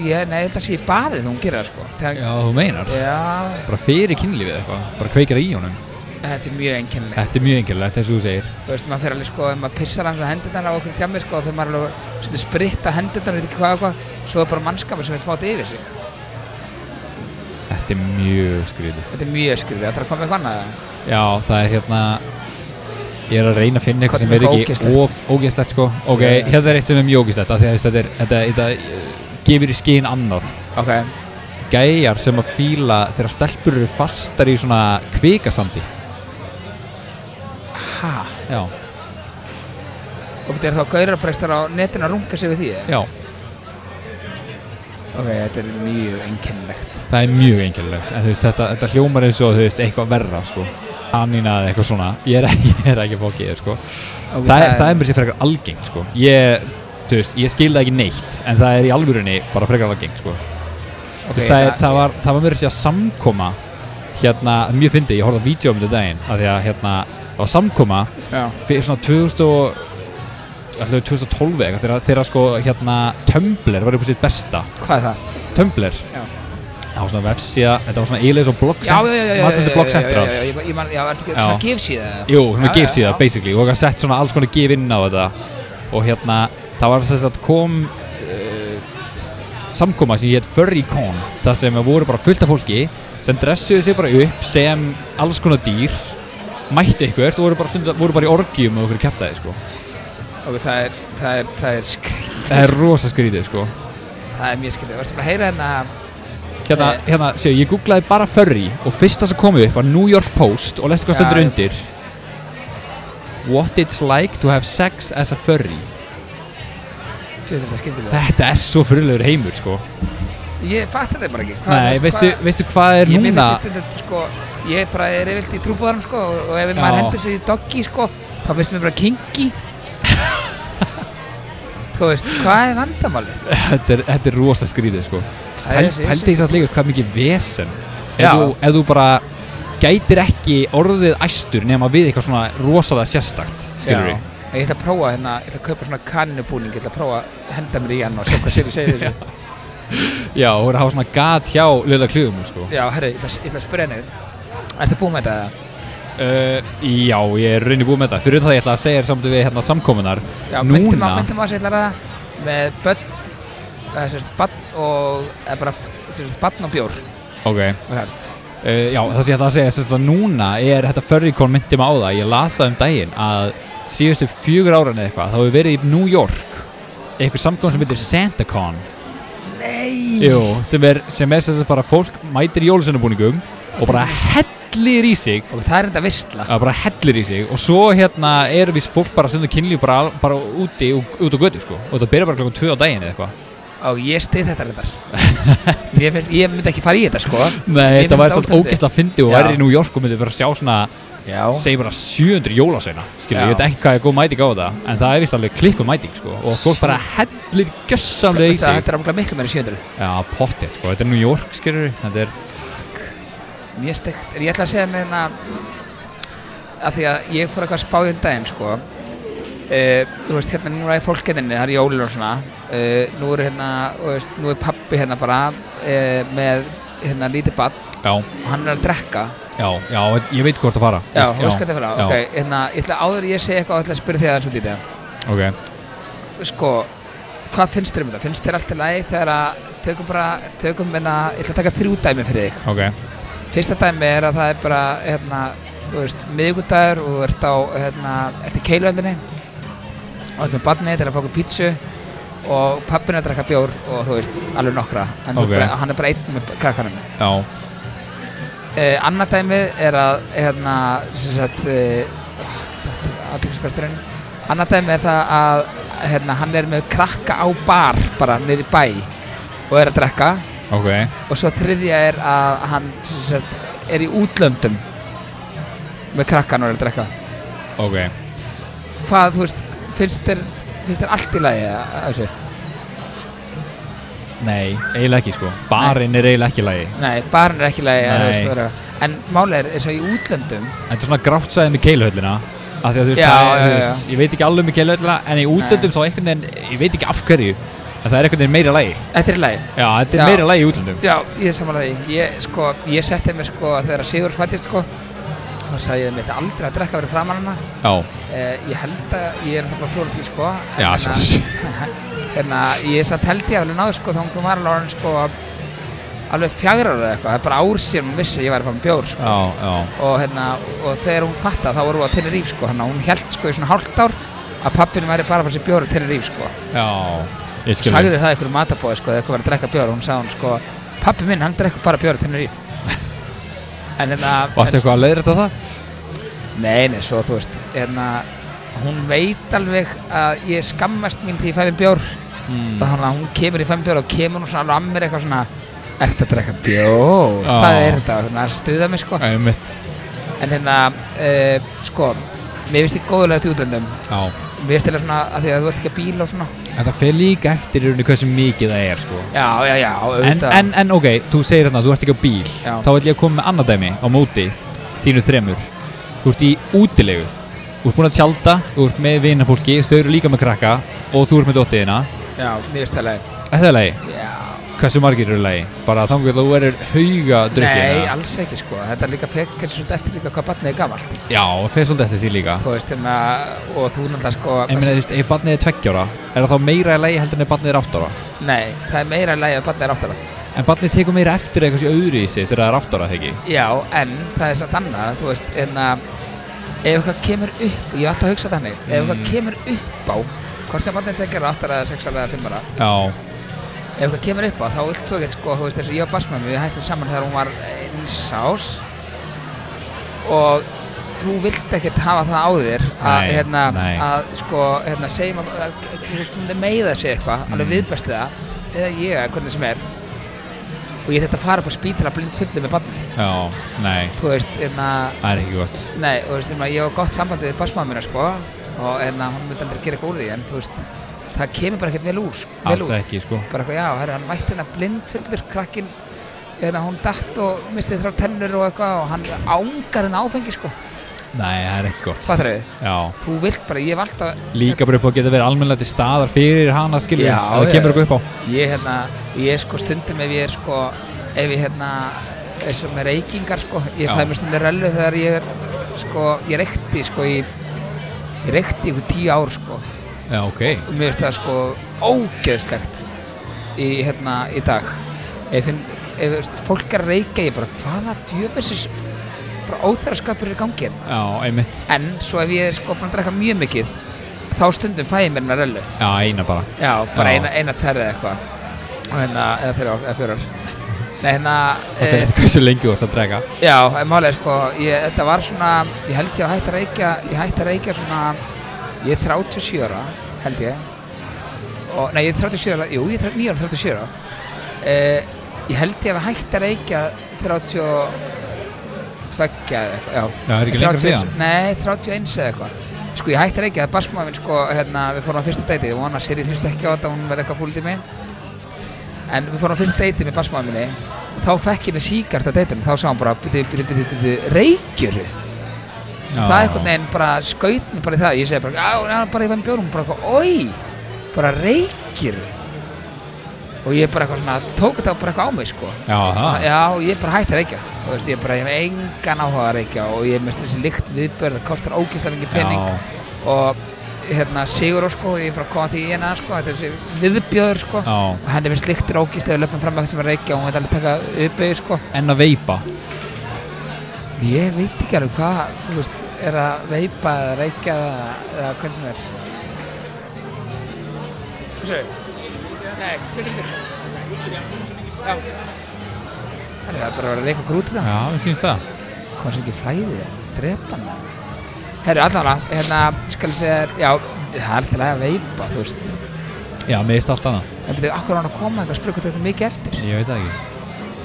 S1: ég, nei, þetta sé í baðið þegar hún gerir það sko, þegar,
S2: Já, þú meinar
S1: já,
S2: Bara fyrir kynlífið eitthvað Bara kveikir í honum
S1: þetta er mjög einkennilegt
S2: Þetta er mjög engilegt, eins og þú segir
S1: þú veist, maður fyrir alveg sko, ef maður pissar hans á hendurnar á okkur tjami sko, þegar maður alveg svolítið spritt á hendurnar, veit ekki hvað og hvað, svo er bara mannskapur sem vil fá þetta yfir sig
S2: Þetta er mjög skrýði
S1: Þetta er mjög skrýfið, það þarf að koma eitthvað annað eða?
S2: Já, það er hérna Ég er að reyna að finna
S1: Hvað
S2: eitthvað sem
S1: er
S2: er
S1: eitthvað
S2: ekki
S1: ógeðslegt?
S2: of ógæstlegt sko Ok,
S1: Já, já.
S2: hérna er eitt sem er mjög ógæstlegt Því að þú veist, þetta, er- þetta, þetta eh, gefur í skinn annað
S1: Ok,
S2: Gæjar sem að fíla þegar stelpur eru fastar í svona kvikasandi
S1: ha
S2: Já,
S1: Og þetta er þá gaurabreistar á netinu að runga sig við því eða?
S2: já
S1: Ok, þetta er mjög einkennilegt
S2: Það er mjög einkennilegt, en þú veist, þetta, þetta hljómar eins og þú veist, eitthvað verra, sko. Anína eða eitthvað svona, ég er, ég er ekki fókið, sko.
S1: okay,
S2: það, er, það er mér sér frekar algengt, sko. Ég, þú veist, ég skil það ekki neitt, en það er í alvörunni bara frekar algengt, sko.
S1: ok,
S2: þú veist, það, það, það var, það var mér sér að samkoma, hérna, mjög fyndi, ég horfði á vídeo um þetta um daginn, að því að, hérna, það var samkoma
S1: Já,
S2: fyrir svona 2000 og, allavega 2012 eða eitthvað, þegar, þegar, sko, hérna, Tumblr var upp á sitt besta.
S1: hvað er það?
S2: Tumblr
S1: Já.
S2: Það var svona vefsíða, þetta var svona eilis og blogg
S1: Já, já, já, já, já,
S2: Manstu þetta blogg
S1: já, já,
S2: central?
S1: já, já, ég- ég man- já, er þetta ekki
S2: Já.
S1: svona gefsíða eða?
S2: Jú, svona
S1: Já, já,
S2: gifsíða,
S1: já.
S2: basically Og það sett svona alls konar gif inn á þetta Og hérna, það var þess að kom uh, Samkoma sem hétt Furrycon Það sem voru bara fullt af fólki Sem dressuðu sig bara upp sem alls konar dýr Mættu eitthvað og voru bara, stundum, voru bara í orgjum og okkur kæftæði sko.
S1: Ok, það er, það er, það er skrýfið
S2: Það er rosa skrítið sko.
S1: Það er mjög skrýfið, varstu bara að heyra hérna
S2: Hérna,
S1: Eh.
S2: hérna, séu, ég googlaði bara furry og fyrsta sem kom upp var New York Post og lestu hvað
S1: Já,
S2: stendur
S1: ég-
S2: undir What it's like to have sex as a furry
S1: Tjóðum það skemmtilega
S2: Þetta er svo fyrirlegur heimur, sko
S1: Ég fatt þetta bara ekki hvað-
S2: Nei,
S1: hvað-
S2: veistu, veistu hvað er
S1: Ég mér
S2: núna
S1: finnst stundum, sko, ég bara er yfirlt í trúbúðarum, sko, og ef
S2: Já.
S1: maður hendur sér í doggi, sko, þá finnst mér bara kinky. Þú veist, hvað er vandamálið?
S2: þetta, er, þetta er rosa skrítið, sko
S1: Það er þessi-
S2: Pældi ég satt líka hvað mikið vesen
S1: Já.
S2: ef þú, ef þú bara gætir ekki orðið æstur nema við eitthvað svona rosalega sérstakt skilur við
S1: Já. Ég ætla að prófa hérna, ég ætla að kaupa svona kanninubúning, ég ætla að prófa að henda mér í hann og sjá hvað Siri segir þessu.
S2: Já, og voru að hafa svona gat hjá lilla klíðum, sko
S1: Já, herri, ég ætla, ég ætla að spyrja henni, Ertu búin með þetta? eða?
S2: Uh, já, ég er rauninni búið með þetta. Fyrir það ég ætla að segja þér samt við hérna samkominar.
S1: Já,
S2: Núna-
S1: myndum að, myndum að segja það með börn, eða sem sagt barn og, eða bara, sem sagt barn og bjór.
S2: Ok.
S1: Og það.
S2: Uh, já, það sem ég ætla að segja, sérst að núna er þetta Furrycon myndi mig á það. Ég las það um daginn að síðustu fjögur áran eða eitthvað, þá hefur verið í New York eitthvað samkomin sem heitir SantaCon. Nei! Jú, sem er, sem er sérst bara fólk mætir í jólusunabúningum og bara hellir í sig
S1: Og það er þetta vistla.
S2: að bara hellir í sig og svo hérna eru viss fólk bara sem þau kynlíf bara, bara úti og, út á götu sko og það byrja bara klokkan 2 á daginn eða eitthvað
S1: Og ég stið þetta reyndar. ég, finnst, ég myndi ekki fara í þetta, sko.
S2: Nei,
S1: Mér
S2: þetta
S1: finnst
S2: væri
S1: þetta
S2: svolítið
S1: ótrúlegt.
S2: ógæsla að fyndi og
S1: Já.
S2: væri í New York og myndi vera að sjá svona
S1: Já.
S2: segjum bara 700 jólasveina skilur,
S1: Já.
S2: ég veit ekki hvað er góð mæting á þetta en það er vist alveg klikku mæting sko og fólk bara hellir gjössamlega í
S1: Veistu að
S2: sig
S1: Þetta er ámuglega miklu meira en 700.
S2: Já, pottet sko, þetta er New York skilur þetta er,
S1: Mjög steikt. En Ég ætla að segja með hérna að því að ég fór eitthvað að spá í um daginn sko. Uh, þú veist, hérna núna er fólk hérna, inni, það er jólin og svona uh, nú er hérna, þú veist, nú er pappi hérna bara uh, með hérna lítið barn
S2: já,
S1: og hann er að drekka
S2: já, já, ég veit hvort að fara
S1: Já,
S2: Ég-
S1: þú veist hvað það fyrir á
S2: já,
S1: Ok, hérna, ég ætla áður en ég segi eitthvað og ætla að spyrja þig aðeins út í þetta
S2: ok.
S1: Sko, hvað finnst þér um þetta? Finnst þér allt í lagi þegar að tökum bara, tökum hérna, ég ætla að taka þrjú dæmi fyrir þig
S2: ok,
S1: Fyrsta dæmi er að það er bara, hérna, þú veist, miðvikudagur og þú ert á, hérna, ert í keiluöldinni og ert með barnið, þetta er að fá okkur pítsu og pappin er að drakka bjór og þú veist, alveg nokkra en þú
S2: Ok.
S1: ert bara, hann er bara einn með krakkanum
S2: já,
S1: Uh, annað dæmið er að hérna, sem sagt uh, aðeinsbesturinn annað dæmið er það að hérna, hann er með krakka á bar bara niður í bæ og er að drekka
S2: ok
S1: og svo þriðja er að hann sem sagt, er í útlöndum með krakkan og er að drekka
S2: ok,
S1: hvað, þú veist, finnst þér finnst þér allt í lagi eh, að að þessu?
S2: nei, eiginlega ekki sko barinn er eiginlega ekki í lagi
S1: Nei, barn er ekki í lagi að, þú
S2: Nei.
S1: veist, þú verður að- en málið er eins og í útlöndum
S2: Þetta er svona grátt sæði með keiluhöllina af því að þú veist,
S1: Já,
S2: það er,
S1: já,
S2: þú
S1: já.
S2: veist, ég veit ekki alveg með keiluhöllina en í útlöndum þá einhvern veginn, ég veit ekki af hverju en það er einhvern veginn meira lægi
S1: Þetta er í lagi
S2: Já, þetta er
S1: Já.
S2: meira lægi í útlöndum
S1: Já, ég er samanlega því. Ég, sko, ég setti mér sko að þegar Sigur fættist sko, þá sagði ég að mér ætla aldrei að drekka verið framan hana.
S2: Já,
S1: Eh, ég held að, ég er náttúrulega klóra því sko. en
S2: já,
S1: hérna-
S2: svo
S1: Hérna, ég satt held ég alveg náðu sko, þá hún var alveg orðin sko alveg fjagra ára eða eitthvað. Það er bara ár síðan hún vissi að ég væri fann bjór sko.
S2: Já, já,
S1: Og hérna, og þegar hún fatta þá vorum við á Tenerife sko, hérna, hún held sko í svona hálft ár að pappinu væri bara að fara sér bjór á Tenerife sko.
S2: já Ég skil
S1: Sagði það einhverju matabóði sko, þegar eitthvað var að drekka bjór, hún sagði hún sko, pappi minn, hann drekka bara bjór á Tenerife. en hérna,
S2: Varstu eitthvað að leiðra þetta það?
S1: nei, nei, svo þú veist, hérna, hún veit alveg að ég skammast mín þegar ég fæ mér bjór,
S2: Mm.
S1: þannig að hún kemur í fæ mér bjór og kemur hún svona alveg að mér eitthvað svona, ert að drekka bjór,
S2: Já.
S1: hvað er þetta, hérna, að stuða mig sko.
S2: Einmitt
S1: En hérna, uh, sko, mér finnst þið góðulegt í útlöndum,
S2: Já
S1: mér finnst þið svona að því að þú ert ekki að bíla og svona.
S2: En það fer líka eftir í rauninni hversu mikið það er, sko
S1: Já, já, já,
S2: En,
S1: auðvitað.
S2: en, en ok, þú segir hérna, þú ert ekki á bíl
S1: Já.
S2: Þá ætlum ég að koma með annað dæmi á móti Þínu þremur Þú ert í útilegu Þú ert búinn að tjálta, þú ert með vinafólki Þau eru líka með krakka Og þú ert með dottiðina
S1: já, mér finnst það leið.
S2: Þetta er lagi,
S1: Já.
S2: hversu margir eru lagi? Bara þangur að þú erir hauga
S1: Nei,
S2: drukkina
S1: alls ekki sko, þetta er líka fyrir svolítið eftir líka hvað barnið er gamalt
S2: Já, það fer svolítið eftir því líka
S1: Þú veist, hérna, og þú náttúrulega sko
S2: En minna, þú veist, ef barnið er tveggjára Er það þá meira í lagi heldur en ef barnið er áttara
S1: Nei, það er meira lægi að barnið er áttara
S2: En barnið tekur meira eftir eitthvað sér öðru í sig Þegar það er áttara, þegar ekki?
S1: Já, en það er samt annað, þú veist, hérna Ef eitthvað kemur upp, ég hef alltaf hugsað þannig Ef eitthvað kemur upp á, hvort sem barnið tekir áttara eða sexara eða fimmara
S2: Já,
S1: Ef eitthvað kemur upp á, þá vilt þú ekkert sko, þú veist, eins og ég og basmömmu Við hættum saman þegar hún var eins ás Og þú vilt ekkert hafa það á þér að,
S2: Nei,
S1: hérna,
S2: nei.
S1: að sko, hérna, segjum að, að, að þú veist, hún er meiða sig eitthvað,
S2: Mm.
S1: alveg viðbæst það, eða ég, hvernig sem er og ég þetta fara upp á spítala blind fullu með barni,
S2: já, nei
S1: þú veist, hérna
S2: Það er ekki gott
S1: nei, og þú veist, hérna, ég hef gott sambandi við basmaða mína, sko, og hérna, hún myndi aldrei gera eitthvað úr því, en þú veist það kemur bara ekkert vel úr, sko, vel
S2: Alls
S1: út
S2: ekki, sko
S1: bara eitthvað, já, herri, hann mætti hérna blindfullur krakkin, hérna hún datt og mistið þrjá tennur og eitthvað og hann ángar henni áfengi, sko
S2: Nei, það er ekki gott
S1: fattar þau,
S2: Já,
S1: þú vilt bara, ég hef alltaf
S2: líka bara upp á að geta verið almennilega til staðar fyrir hana skilur
S1: Já,
S2: að það kemur
S1: já, já.
S2: eitthvað upp á
S1: ég, hérna, ég sko stundum ef ég er, sko ef ég, hérna, eins og með reykingar sko, ég
S2: Já.
S1: fæði mér stundir rellu þegar ég er sko, ég reykti sko í ég reykti ykkur tíu ár sko og
S2: Já, ok.
S1: mér finnst það sko ógeðslegt í hérna í dag ef, finn, ef veist, fólk er að reyka ég bara hvaða djöfessis bara óþæraskapur er í gangi hérna
S2: Já, einmitt.
S1: en svo ef ég er sko búin að drekka mjög mikið þá stundum fæ ég mér hérna rellu
S2: Já, eina bara.
S1: Já, bara
S2: Já.
S1: eina, eina tærið eitthvað og hérna, eða þeirra, eða þeirra Nei, hérna
S2: Þetta er
S1: eh,
S2: eitthvað svo lengi þú ert að drega.
S1: Já, en málega sko ég, þetta var svona, ég held ég að hætta að reykja ég hætti að reykja svona ég er 37 ára, held ég og, nei, ég er 37 ára jú, ég er 39 ára, 37 ára eh, ég held ég að hætta að reykja 32 eða eitthvað, já
S2: Já, það er ekki lengra
S1: 31
S2: síðan.
S1: Nei, 31 eða eitthvað Sko ég hætti reykja, það er barsmáð minn sko hérna, Við fórum á fyrsta deiti, ég vona að Siri hlust ekki á þetta Hún verði eitthvað fúlið í mig En við fórum á fyrsta deiti með barsmáð minni Og þá fekk ég með síkart á deitum Þá sá hann bara, byrju, byrju, byrju, byrju Reykjuru,
S2: Já.
S1: það er eitthvað neginn bara Skaut mig bara í það, ég segi bara Já, já, bara ég fann bjórum, bara eitthvað, oi Bara reykjuru Og ég bara eitthvað svona, tók þetta bara eitthvað á mig sko
S2: Já, það.
S1: Já, ég er bara hægt að reykja Þú veist, ég er bara, ég hef engan áhuga að reykja og ég mest þessi lykt viðbörð, það kostar ógeðslega mikið pening
S2: Já.
S1: og hérna Sigur sko, ég er bara að koma því í hérna sko, þetta er þessi viðbjörður sko
S2: Já.
S1: og henni finnst lyktir ógeðslega við löpum fram að það sem er að reykja og hún veit alveg taka uppeyðu sko
S2: En að veipa.
S1: Ég veit ekki alveg hvað, þú veist, er að veipa eða reykja eða, eða hvað sem er Þessu Nei, stundingur Já Það er bara að vera að reyka grút í það
S2: Já, við syns það.
S1: hvað sem ekki flæði drepa hann herru allavega hérna skal ég segja þér, já það er alltaf að veipa þú veist
S2: Já, mér er státt annað.
S1: en betur akkur á hann að koma eitthvað spyrja hvort þetta er mikið eftir
S2: Ég veit það ekki.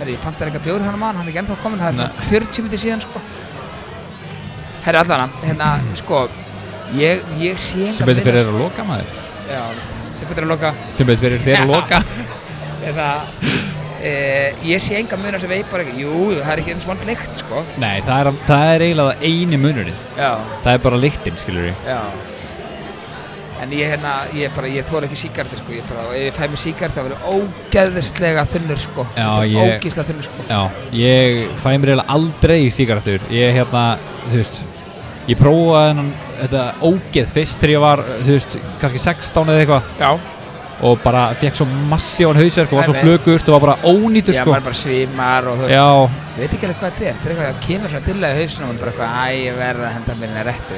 S1: herru ég pantar eitthvað bjóri hann mann hérna um hann er ekki ennþá kominn, það er
S2: Nei.
S1: svona 40 minnir síðan sko herru allavega hérna sko ég, ég sé engan
S2: Mm. Sem betur fyrir
S1: miðast-
S2: er að loka maður.
S1: já mitt sem betur að loka
S2: Sem betur fyrir þeir að loka.
S1: eða e, ég sé enga munar sem veipar ekki jú jú, það er ekki eins vant lykt sko
S2: Nei, það er, það er eiginlega það eini munurinn.
S1: já
S2: Það er bara lyktin, skilur við.
S1: Já En ég hérna, ég bara, ég þóla ekki síkartir sko, ég bara, og ef ég fæ mér síkart þá verður ógeðslega þunnur sko
S2: Já,
S1: Þetta er
S2: ég-
S1: Ógeðslega þunnur sko
S2: Já, ég fæ mér eiginlega aldrei sígarettur. Ég hérna, þú veist, ég prófaði hennan, þetta ógeð fyrst þegar ég var, þú veist, kannski 16 eða eitthvað
S1: Já
S2: og bara fekk svo massívan hausverk og var svo
S1: Einmitt.
S2: flögurt og var bara ónýtur
S1: Já,
S2: sko.
S1: maður bara svimar og þú veist,
S2: Já,
S1: ég veit ekki alveg hvað þetta er, þetta er eitthvað, það kemur svona dilla í hausinu og maður bara eitthvað, æ, ég verð að henda mér hérna réttu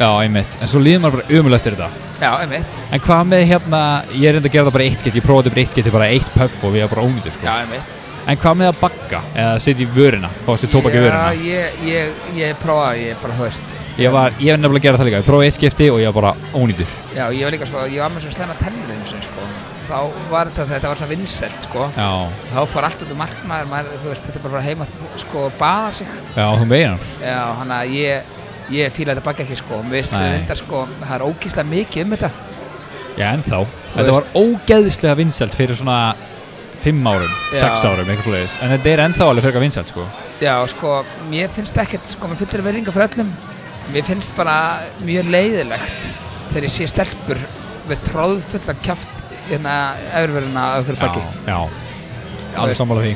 S2: já, einmitt. En svo líður maður bara umulögt eftir þetta.
S1: Já, einmitt,
S2: En hvað með hérna, ég reyndi að gera það bara eitt skipti, ég prófaði bara eitt skipti, bara eitt puff og við varum bara ónýtur
S1: já,
S2: sko.
S1: einmitt
S2: En hvað með að bagga eða setja í vörina, fá sér tóbak í vörina?
S1: Já, ég, ég, ég prófaði, ég bara, þú veist
S2: Ég var, ég var nefnilega að gera það líka, ég prófaði eitt skipti og ég var bara ónýtur.
S1: Já, ég var líka sko, ég var með svo slemma tennur eins og sko Þá var þetta, þetta var svona vinsælt sko
S2: Já,
S1: þá fór allt út um allt maður, maður þú veist, þetta er bara að fara heima sko og baða sig
S2: já, þú meinar.
S1: já, hann að ég, ég fíla þetta baka ekki sko mér veist
S2: Nei.
S1: þetta reyndar sko, það er ógíslega mikið um þetta
S2: Já, ennþá. Þetta var ógeðslega vinsælt fyrir svona fimm árum,
S1: Já.
S2: sex árum, eitthvað slúiðis. En þetta er ennþá alveg fyrir vinsælt, sko.
S1: já, sko, mér finnst ekkert sko, mér fullir verðinga fyrir öllum mér finnst bara mjög leiðilegt þegar ég sé stelpur með tróð fulla kjaft hérna efurverðina af okkur baki
S2: Já, já. Alveg sammála því.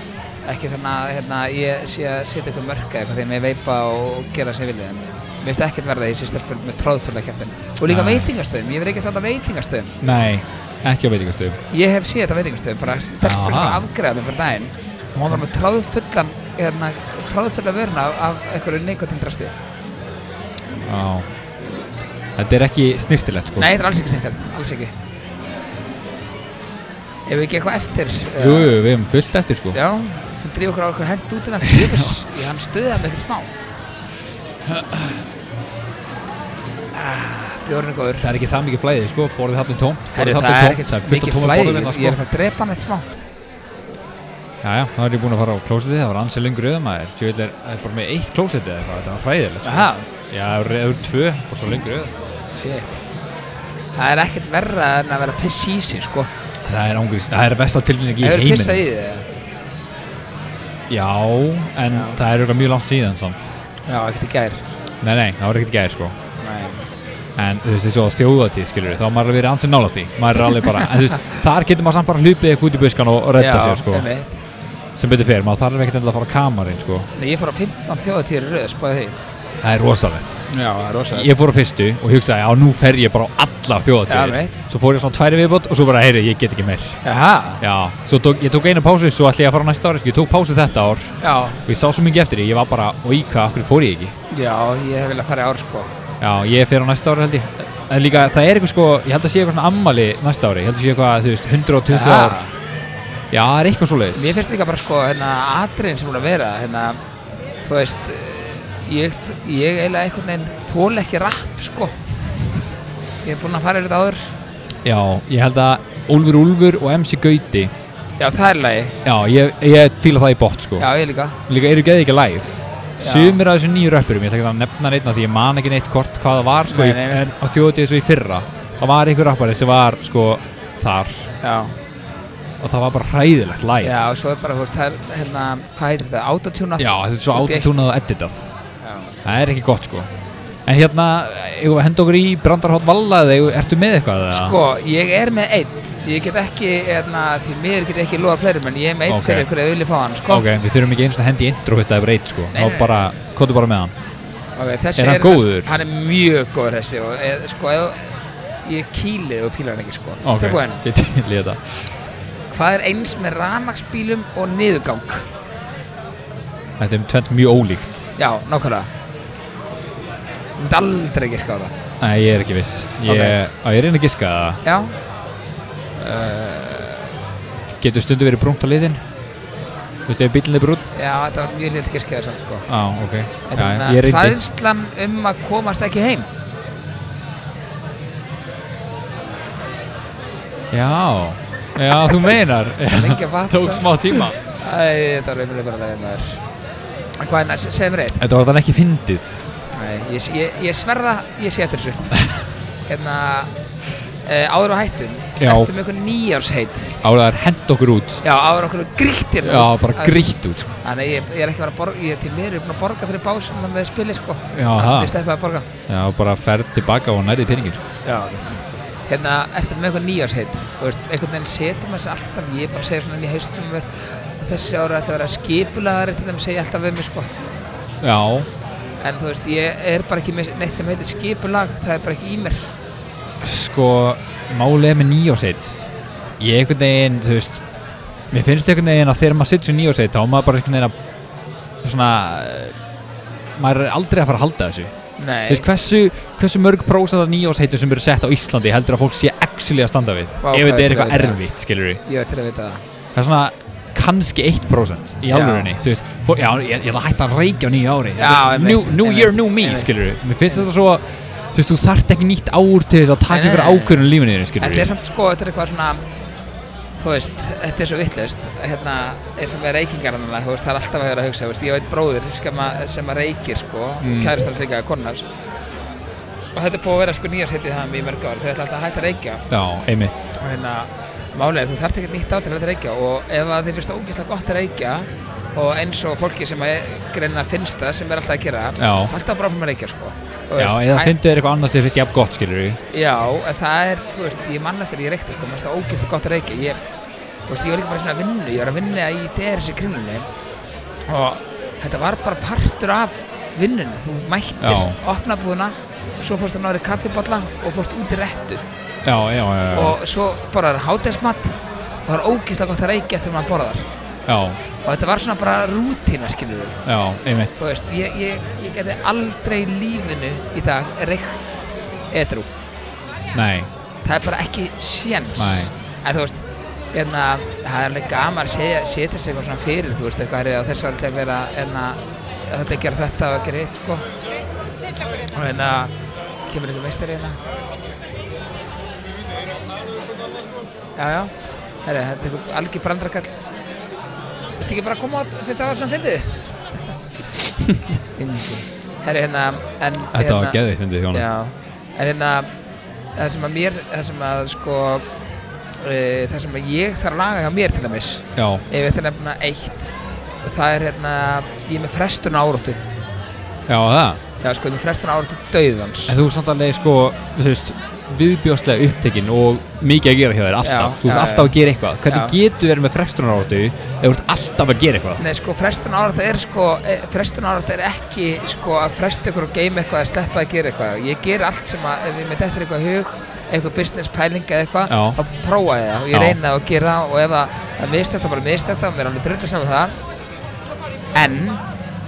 S1: ekki þannig að hérna, ég sé að setja eitthvað mörk eða eitthvað þegar mér veipa og gera sem ég vilja en mér finnst ekkert verða því ég sé stelpur með tróðfulla kjaftin og líka
S2: Nei.
S1: veitingastöðum, ég verð ekki að standa á veitingastöðum
S2: Nei, ekki á veitingastöðum.
S1: Ég hef séð þetta veitingastöð, bara stelpur sem
S2: Aha.
S1: afgreða mig fyrir daginn og hún var með tráðfullan hérna, tráðfullan vöruna af, af einhverju neikotindrasti
S2: Já. Þetta er ekki snirtilegt, sko.
S1: Nei, þetta er alls ekki steinfært, alls ekki Ef við ekki eitthvað eftir
S2: Jú, jú, við hefum fullt eftir, sko.
S1: Já, sem drýf okkur á okkur hend út í það Jöfus, ég hann stuðið hann ekkert smá ah, Bjórinn er góður
S2: Það er ekki það mikið flæðið, sko. Borðið þarna er tómt.
S1: Herri,
S2: Borðið
S1: það
S2: þarna
S1: er
S2: er tómt.
S1: ekkert
S2: Það er fullt af
S1: mikið
S2: tómum
S1: flæði,
S2: borðum hérna,
S1: ég er
S2: sko.
S1: eitthvað að drepa hann eitt smá
S2: Já, já, þá er ég búin að fara á klósetið. Það var ansi lengur auðum maður. Tjóðil er það er bara með eitt klósetið eða eitthvað. Þetta var hræðilegt, sko.
S1: Aha,
S2: Já, það eru- það eru tvö og svo lengur auð.
S1: shit Það er ekkert verra en að vera piss í sig, sko
S2: Það er ángrís, það er besta tilfinning í
S1: Hefur
S2: heiminn
S1: pissað í þig? eða?
S2: Já, en
S1: Já.
S2: það er auðvitað mjög langt síðan samt
S1: Já, ekkert í gær
S2: Nei, nei, það var ekkert gæðir sko
S1: Nei.
S2: En þú veist, þessu á þjóðatíð, skilur við, þá var maður alveg verið ansið nálátt í Maður er alveg bara, en þú veist, þar getur maður samt bara hlupið eitthvað út í buskan og redda
S1: Já,
S2: sér sko
S1: einmitt.
S2: sem betur fer, maður þarf ekkert endilega að fara á kamarinn sko.
S1: Nei, ég fór á 15 þjóðatíður í röð, spáði því.
S2: það er rosalegt
S1: Já, það er rosalega.
S2: ég fór á fyrstu og hugsaði að nú fer ég bara á allar
S1: Já,
S2: þjóðatíðir
S1: veit.
S2: svo fór ég svona tværi viðbót og svo bara, heyri, ég get ekki meir
S1: Jaha,
S2: já, svo tók, ég tók eina pásu svo ætla ég að fara á næsta ári, sko. ég tók pásu þetta ár
S1: já,
S2: og ég sá svo mikið eftir því, ég var bara, oi, hvað, af hverju fór ég ekki
S1: já, ég hef viljað fara í ár sko.
S2: já, ég fer á næsta ári held ég en líka, það er eitthvað sko, ég held að sé eitthvað svona ammali næsta ári, ég held að sé eitthvað, þú veist, 120
S1: Aha.
S2: ár já, það er eitthvað svo leiðis
S1: Mér finnst líka bara sko, hérna, atriðin sem búin að vera, hérna, þú veist, eh, ég, ég eiginlega einhvern veginn þól ekki rapp sko. Ég hef búin að fara yfir þetta áður.
S2: já, ég held að Úlfur Úlfur og MC Gauti
S1: Já, það er lagi.
S2: já, ég, ég fíla það í bótt sko
S1: Já, ég líka.
S2: líka eru geðið ekki live
S1: Já.
S2: sumir af þessum nýju röppurum, ég ætla ekki að nefna neitt af því ég man ekki neitt hvort hvað það var sko,
S1: Nei,
S2: ég-
S1: nei,
S2: en
S1: einmitt.
S2: á þjóðutíð svo í fyrra það var einhver rappari sem var sko þar
S1: Já,
S2: og það var bara hræðilegt live
S1: já, og svo er bara, þú veist, það er, hérna, hvað heitir þetta, autotunað?
S2: Já, þetta er svo
S1: Út í eitt.
S2: autotunað og editað
S1: Já.
S2: það er ekki gott sko en hérna, eigum við að henda okkur í brandarhótt valla eða eigum- ertu með eitthvað eða?
S1: Sko, ég er með einn. Ég get ekki, hérna, því miður get ég ekki loða fleirum, en ég er með einn
S2: Ok.
S1: fyrir ykkur eða vilja fá hann, sko.
S2: ok, við þurfum ekki eins og að henda í intro fyrst að það er bara eitt sko
S1: Nei,
S2: þá
S1: nei,
S2: bara, kóttu bara með hann
S1: Ok, þessi
S2: Er hann góður?
S1: Hann er mjög góður þessi og e, sko, ef, ég kýlið og fíla hann ekki sko.
S2: ok,
S1: Tilbúin.
S2: ég til í þetta
S1: Hvað er eins með rafmaksbílum og niðurgang?
S2: þetta er um tvent mjög ólíkt
S1: Já, nákvæmlega. Þú myndi aldrei ekki skáða.
S2: nei, ég er ekki viss ég,
S1: Ok.
S2: á, ég reyna að giska það
S1: Já,
S2: getur stundu verið brúnt á liðin þú veist ef bílinn er brún
S1: já, þetta var mjög lilt giskið þessan sko.
S2: á ok
S1: Þetta
S2: já,
S1: er
S2: ég
S1: hérna
S2: reyndi
S1: hræðslan um að komast ekki heim.
S2: já já þú meinar
S1: Lengi að fatta.
S2: tók smá tíma
S1: Æ, þetta var umlega bara það einhver. Hvað hérna, er næst, segðum reitt?
S2: þetta var þannig ekki fyndið
S1: Nei, ég, ég, ég sverða, ég sé eftir þessu. hérna, e, áður á hættum,
S2: Já.
S1: ertu með einhvern nýjársheit?
S2: álegaðar hend okkur út
S1: Já, áður okkur grýtt hérna
S2: já
S1: út.
S2: bara grýtt út sko.
S1: Þannig ég, ég er ekki bara að borga, ég er til mér, ég er búin að borga fyrir básunum með spili, sko.
S2: Já,
S1: Allt
S2: það.
S1: Ég sleppa að borga.
S2: já bara ferð tilbaka og nærið peningin sko.
S1: Já, veit. Hérna, ertu með eitthvað nýjársheit? Þú veist, einhvern veginn setum þessi alltaf, ég er bara að segja svona inn í haustum mér, að þessi ára ætla að vera skipulaðari til þeim segja alltaf við mig, sko.
S2: já
S1: En þú veist, ég er bara ekki með neitt sem heitir skipulag, það er bara ekki í mér.
S2: sko málið er með nýjóseitt ég einhvern veginn þú veist mér finnst einhvern veginn að þegar maður sittur nýjóseitt þá er maður bara einhvern veginn að svona eh, maður er aldrei að fara að halda þessu
S1: Nei.
S2: Þú veist, hversu, hversu mörg prósent af nýjósheitum sem eru sett á Íslandi heldur að fólk sé actually að standa við
S1: Vá,
S2: ef
S1: hvað
S2: þetta er
S1: er
S2: eitthvað
S1: þetta?
S2: erfitt, skilur við
S1: Ég er til að vita það.
S2: það er svona kannski 1% í
S1: Já.
S2: alvörunni þú veist, fó, já, ég, ég ætla að hætta að reykja á nýju ári
S1: Já,
S2: Þetta er
S1: einmitt,
S2: new, new year,
S1: einmitt,
S2: new me,
S1: einmitt.
S2: skilur við mér finnst þetta svo, þú veist, þú þarft ekki nýtt ár til þess að taka
S1: Nei, nei,
S2: ykkur
S1: nei.
S2: ákvörðun í lífinu þínu, skilur
S1: Þetta er
S2: við
S1: samt sko, þetta er eitthvað svona, þú veist, þetta er svo vittlust, hérna, eins og með reykingar hann, þú veist, það er alltaf að vera að hugsa, þú veist, ég veit bróðir sem að, sem að reykir, sko,
S2: Mm.
S1: mm. kærist hans líka konars, og þetta er búið að vera sko nýja setið það í mörg ár, þau ætla alltaf að hætta að reykja,
S2: já, einmitt,
S1: og hérna, málega, þú þarft ekkert nýtt ár til að hætta að reykja, og ef að þið finnst ógeðslega gott að reykja, og eins og fólki sem að greina finnst það, sem er alltaf að gera,
S2: Já.
S1: halda bara áfram að reykja, sko. Þú
S2: já,
S1: veist,
S2: eða
S1: hæ-
S2: fyndu þér eitthvað annað sem finnst jafn gott, skilur við
S1: Já, en það er, þú veist, ég mann eftir að ég reykti sko, mér finnst það ógeðslega gott að reykja ég, þú veist, ég var líka bara í svona vinnu, ég var að vinna í DRS í krimlunni og þetta var bara partur af vinnunni, þú mættir
S2: Já.
S1: opnabúðuna, svo fórst að náður í kaffiballa og fórst út í réttu
S2: já, já, já, já,
S1: og svo bara er hátæðsmatt og það var ógeðslega gott að reykja eftir maður borðar
S2: já,
S1: og þetta var svona bara rútína, skilur við
S2: já, einmitt
S1: þú veist, ég, ég, ég geti aldrei í lífinu í dag reykt edrú
S2: nei,
S1: það er bara ekki sjens
S2: Nei.
S1: en þú veist hérna, það er alveg gaman að segja, setja sig eitthvað svona fyrir þú veist, eitthvað er ég á þessu alveg að vera hérna, það er að gera þetta og gera hitt sko og hérna kemur einhver meistari hérna já, já Herri, þetta er einhver algjör brandrakall Viltu ekki bara koma á fyrst að það sem fyndið? Herri, hérna en, hérna-
S2: þetta var geðið, fyndið þjóna
S1: Já, en hérna það sem að mér, það sem að sko e, það sem að ég þarf að laga hjá mér til dæmis
S2: já,
S1: ef ég ætla að nefna eitt og það er hérna, ég er með frestun á áróttu já
S2: já, það
S1: sko, ég er með frestun á áróttu dauðans
S2: En þú ert samt alveg sko, þú veist, viðbjóðslega upptekinn og mikið að gera hjá þér alltaf,
S1: Já,
S2: þú ert
S1: já,
S2: alltaf
S1: já.
S2: að gera eitthvað. Hvernig
S1: Já.
S2: getur verið með frestunaráttu ef þú ert alltaf alltaf að gera eitthvað
S1: Nei, sko, frestun ára það er sko, e, frestun ára það er ekki sko að fresta ykkur og geima eitthvað að sleppa að gera eitthvað. Ég ger allt sem að, ef ég með dettur eitthvað í hug, eitthvað business pæling eða eitthvað,
S2: Já.
S1: þá prófa ég það og
S2: Já.
S1: ég reyna að gera það og ef að það mistast það bara mistast það, mér er alveg drullu saman það. En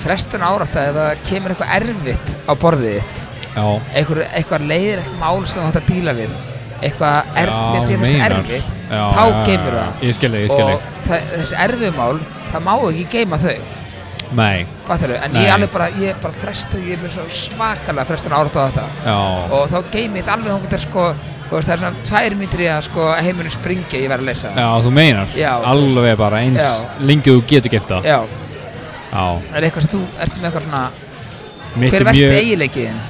S1: frestun ára það, ef það kemur eitthvað erfitt á borðið þitt,
S2: Já,
S1: eitthvað, eitthvað leiðilegt mál sem þú ætti að díla við, eitthvað er,
S2: Já,
S1: sem þér finnst
S2: meinar.
S1: erfitt,
S2: Já,
S1: þá
S2: já, já, já.
S1: geymir það.
S2: Ég skil þig, ég skil
S1: Og það- þessi erfiðmál, það má ekki geima þau.
S2: nei,
S1: Fattarðu, en
S2: Nei.
S1: ég alveg bara, ég bara fresta, ég er með svo svakalega frestun árat á þetta
S2: já,
S1: og þá geymi ég þetta alveg þóngt er sko, þú veist, það er svona tvær mítri að sko heimurinn springi að ég verð að lesa
S2: já, þú meinar
S1: Já, þú
S2: Alveg bara eins
S1: Já.
S2: lengi þú getur gett það
S1: Já,
S2: Já,
S1: er eitthvað sem þú ert með eitthvað svona,
S2: mitt er
S1: hver er versti
S2: mjög
S1: eiginleikiðin?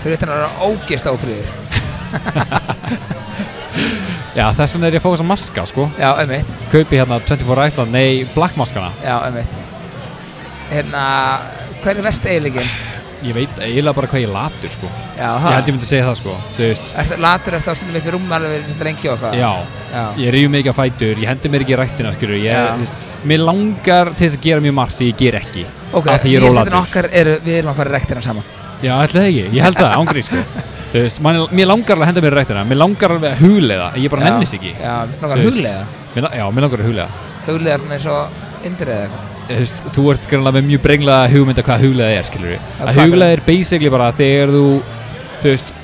S1: Fyrir þetta að vera ógeðst áfriður
S2: Já, þess vegna er ég að fá þess að maska, sko
S1: Já, ömmitt,
S2: Kaupi hérna 24 Iceland, nei, Black maskana
S1: já, ömmitt Hérna, hver er versti eiginleikiðin?
S2: Ég veit eiginlega bara hvað ég er latur, sko
S1: Já,
S2: Ég held ég myndi segja það, sko, þú veist
S1: Ertu latur, ertu á stundum upp í rúm alveg verið svolítið lengi og eitthvað?
S2: Já,
S1: Já,
S2: ég rýf mikið að fætur, ég hendi mér ekki í rættina, skilur ég,
S1: Já.
S2: þú veist, Mér langar til þess að gera mjög margt sem ég ger ekki
S1: ok,
S2: Af því ég er
S1: vísindin
S2: ólatur
S1: okkar eru, við erum að fara í rektina saman
S2: Já, ætli það ekki, ég held það, ángrið sko Þú veist, man, Mér langar alveg að henda mér í rættina Mér langar alveg að hugleiða, ég bara
S1: Já,
S2: nennis ekki
S1: Já,
S2: Þú
S1: nokkar
S2: veist,
S1: huglega
S2: mér la- Já, mér langar að hugleiða
S1: huglegar svona eins og indrið eða eitthvað.
S2: Þú veist, Þú ert grannlega með mjög brenglaða hugmynd af hvað hugleiða er, skilur við
S1: Já,
S2: Að
S1: hvað er
S2: hugleiða er basically bara þegar þú Þú veist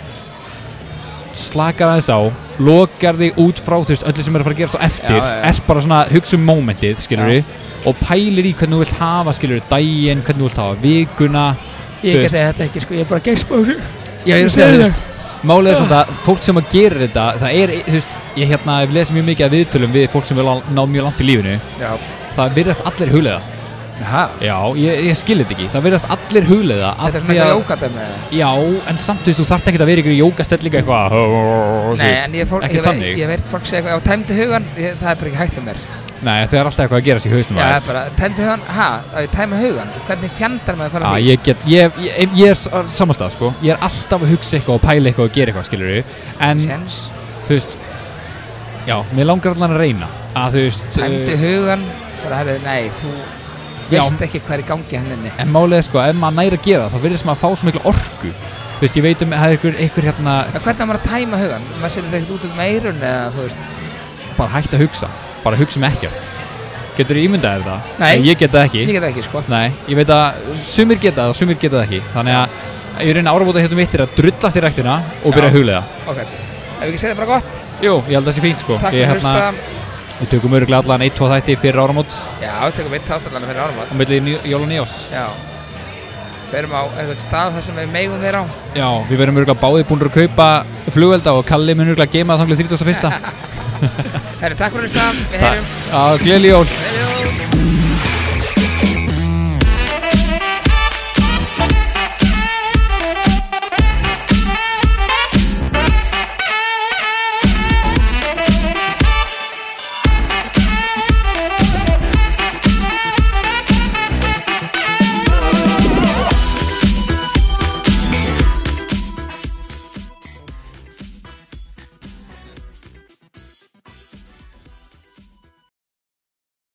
S2: slakar aðeins á, lokar þig út frá þú veist, öllu sem er að fara að gera svo eftir
S1: Já, já, já.
S2: ert bara svona að hugsa um momentið, skilur
S1: Já.
S2: og pælir í hvernig þú vilt hafa, skilur daginn, hvernig þú vilt hafa vikuna
S1: Ég
S2: þú
S1: ekki
S2: veist,
S1: að segja þetta ekki sko, ég er bara geisbóru
S2: Já, ég er að segja þú veist Málið er svona að fólk sem að gera þetta Það er, þú veist, ég hérna hef lesið mjög mikið af viðtölum við fólk sem vil á- ná mjög langt í lífinu
S1: Já,
S2: Það virðast allir hugleiða
S1: Aha.
S2: Já, ég, ég skil þetta ekki Það virðast allir hugleiða af
S1: þetta er
S2: því
S1: svona
S2: að-
S1: eitthvað jókata með það
S2: Já, en samt, þú veist, þú þarft ekkert að vera ykkur í jókastellinga eitthvað þú
S1: Nei,
S2: veist,
S1: en ég, fór,
S2: ekki
S1: ég, ve
S2: þannig.
S1: ég veit fólk segja eitthvað, já, tæmdi hugan, ég, það er bara ekki hægt um mér Já,
S2: Nei, það er alltaf eitthvað að gera sér hausnum á
S1: það
S2: þér.
S1: er bara, tæmdi hugan, ha, á ég tæma hugan, hvernig fjandar maður fara
S2: Já,
S1: því?
S2: ég get, ég, ég, ég er samanstað, sko Ég er alltaf að hugsa eitthvað og pæla eitthvað og gera eitthvað, skilur En,
S1: Sjens,
S2: þú veist Já, mér langar allan að reyna að, þú veist, eh,
S1: tæmdi hugan, bara herðu, nei, þú
S2: Já.
S1: veist ekki hvað er í gangi henninni
S2: En málið er sko, ef maður næri að gera það, þá verðist maður að fá svo mikla orku. Þú veist, ég veit um að það er einhver, einhver hérna
S1: En hvernig á maður að tæma hugan? Maður setur þetta ekkert út um meirun eða, þú veist
S2: bara hægt að hugsa, bara hugsa um ekkert. Getur þú ímyndað þér það?
S1: Nei.
S2: En Ég get það ekki.
S1: Ég get það ekki, sko
S2: Nei, ég veit að sumir geta það og sumir geta það ekki. Þannig að ég reyna áramóta hérna mitt er að drullast í ræktina og byrja
S1: Já.
S2: að huglega.
S1: Ok, ef ekki segja þetta bara gott
S2: Jú, ég held að það sé fínt sko.
S1: Takk
S2: Ég,
S1: fyrir að hlusta
S2: Við tökum öruglega allan 1-2 þætti fyrir áramót
S1: Já, tökum eitt tátalann fyrir
S2: á
S1: áramót
S2: milli ný- jól og nýjós.
S1: Já Ferum á eitthvað stað þar sem við megum vera á
S2: Já, við verðum öruglega báði búinur að kaupa flugvelda og Kalli mun öruglega geima það þanglega 31.
S1: Herri, takk fyrir að hlusta Við heyrjum
S2: Já, gleðileg jól.
S1: Heyrjum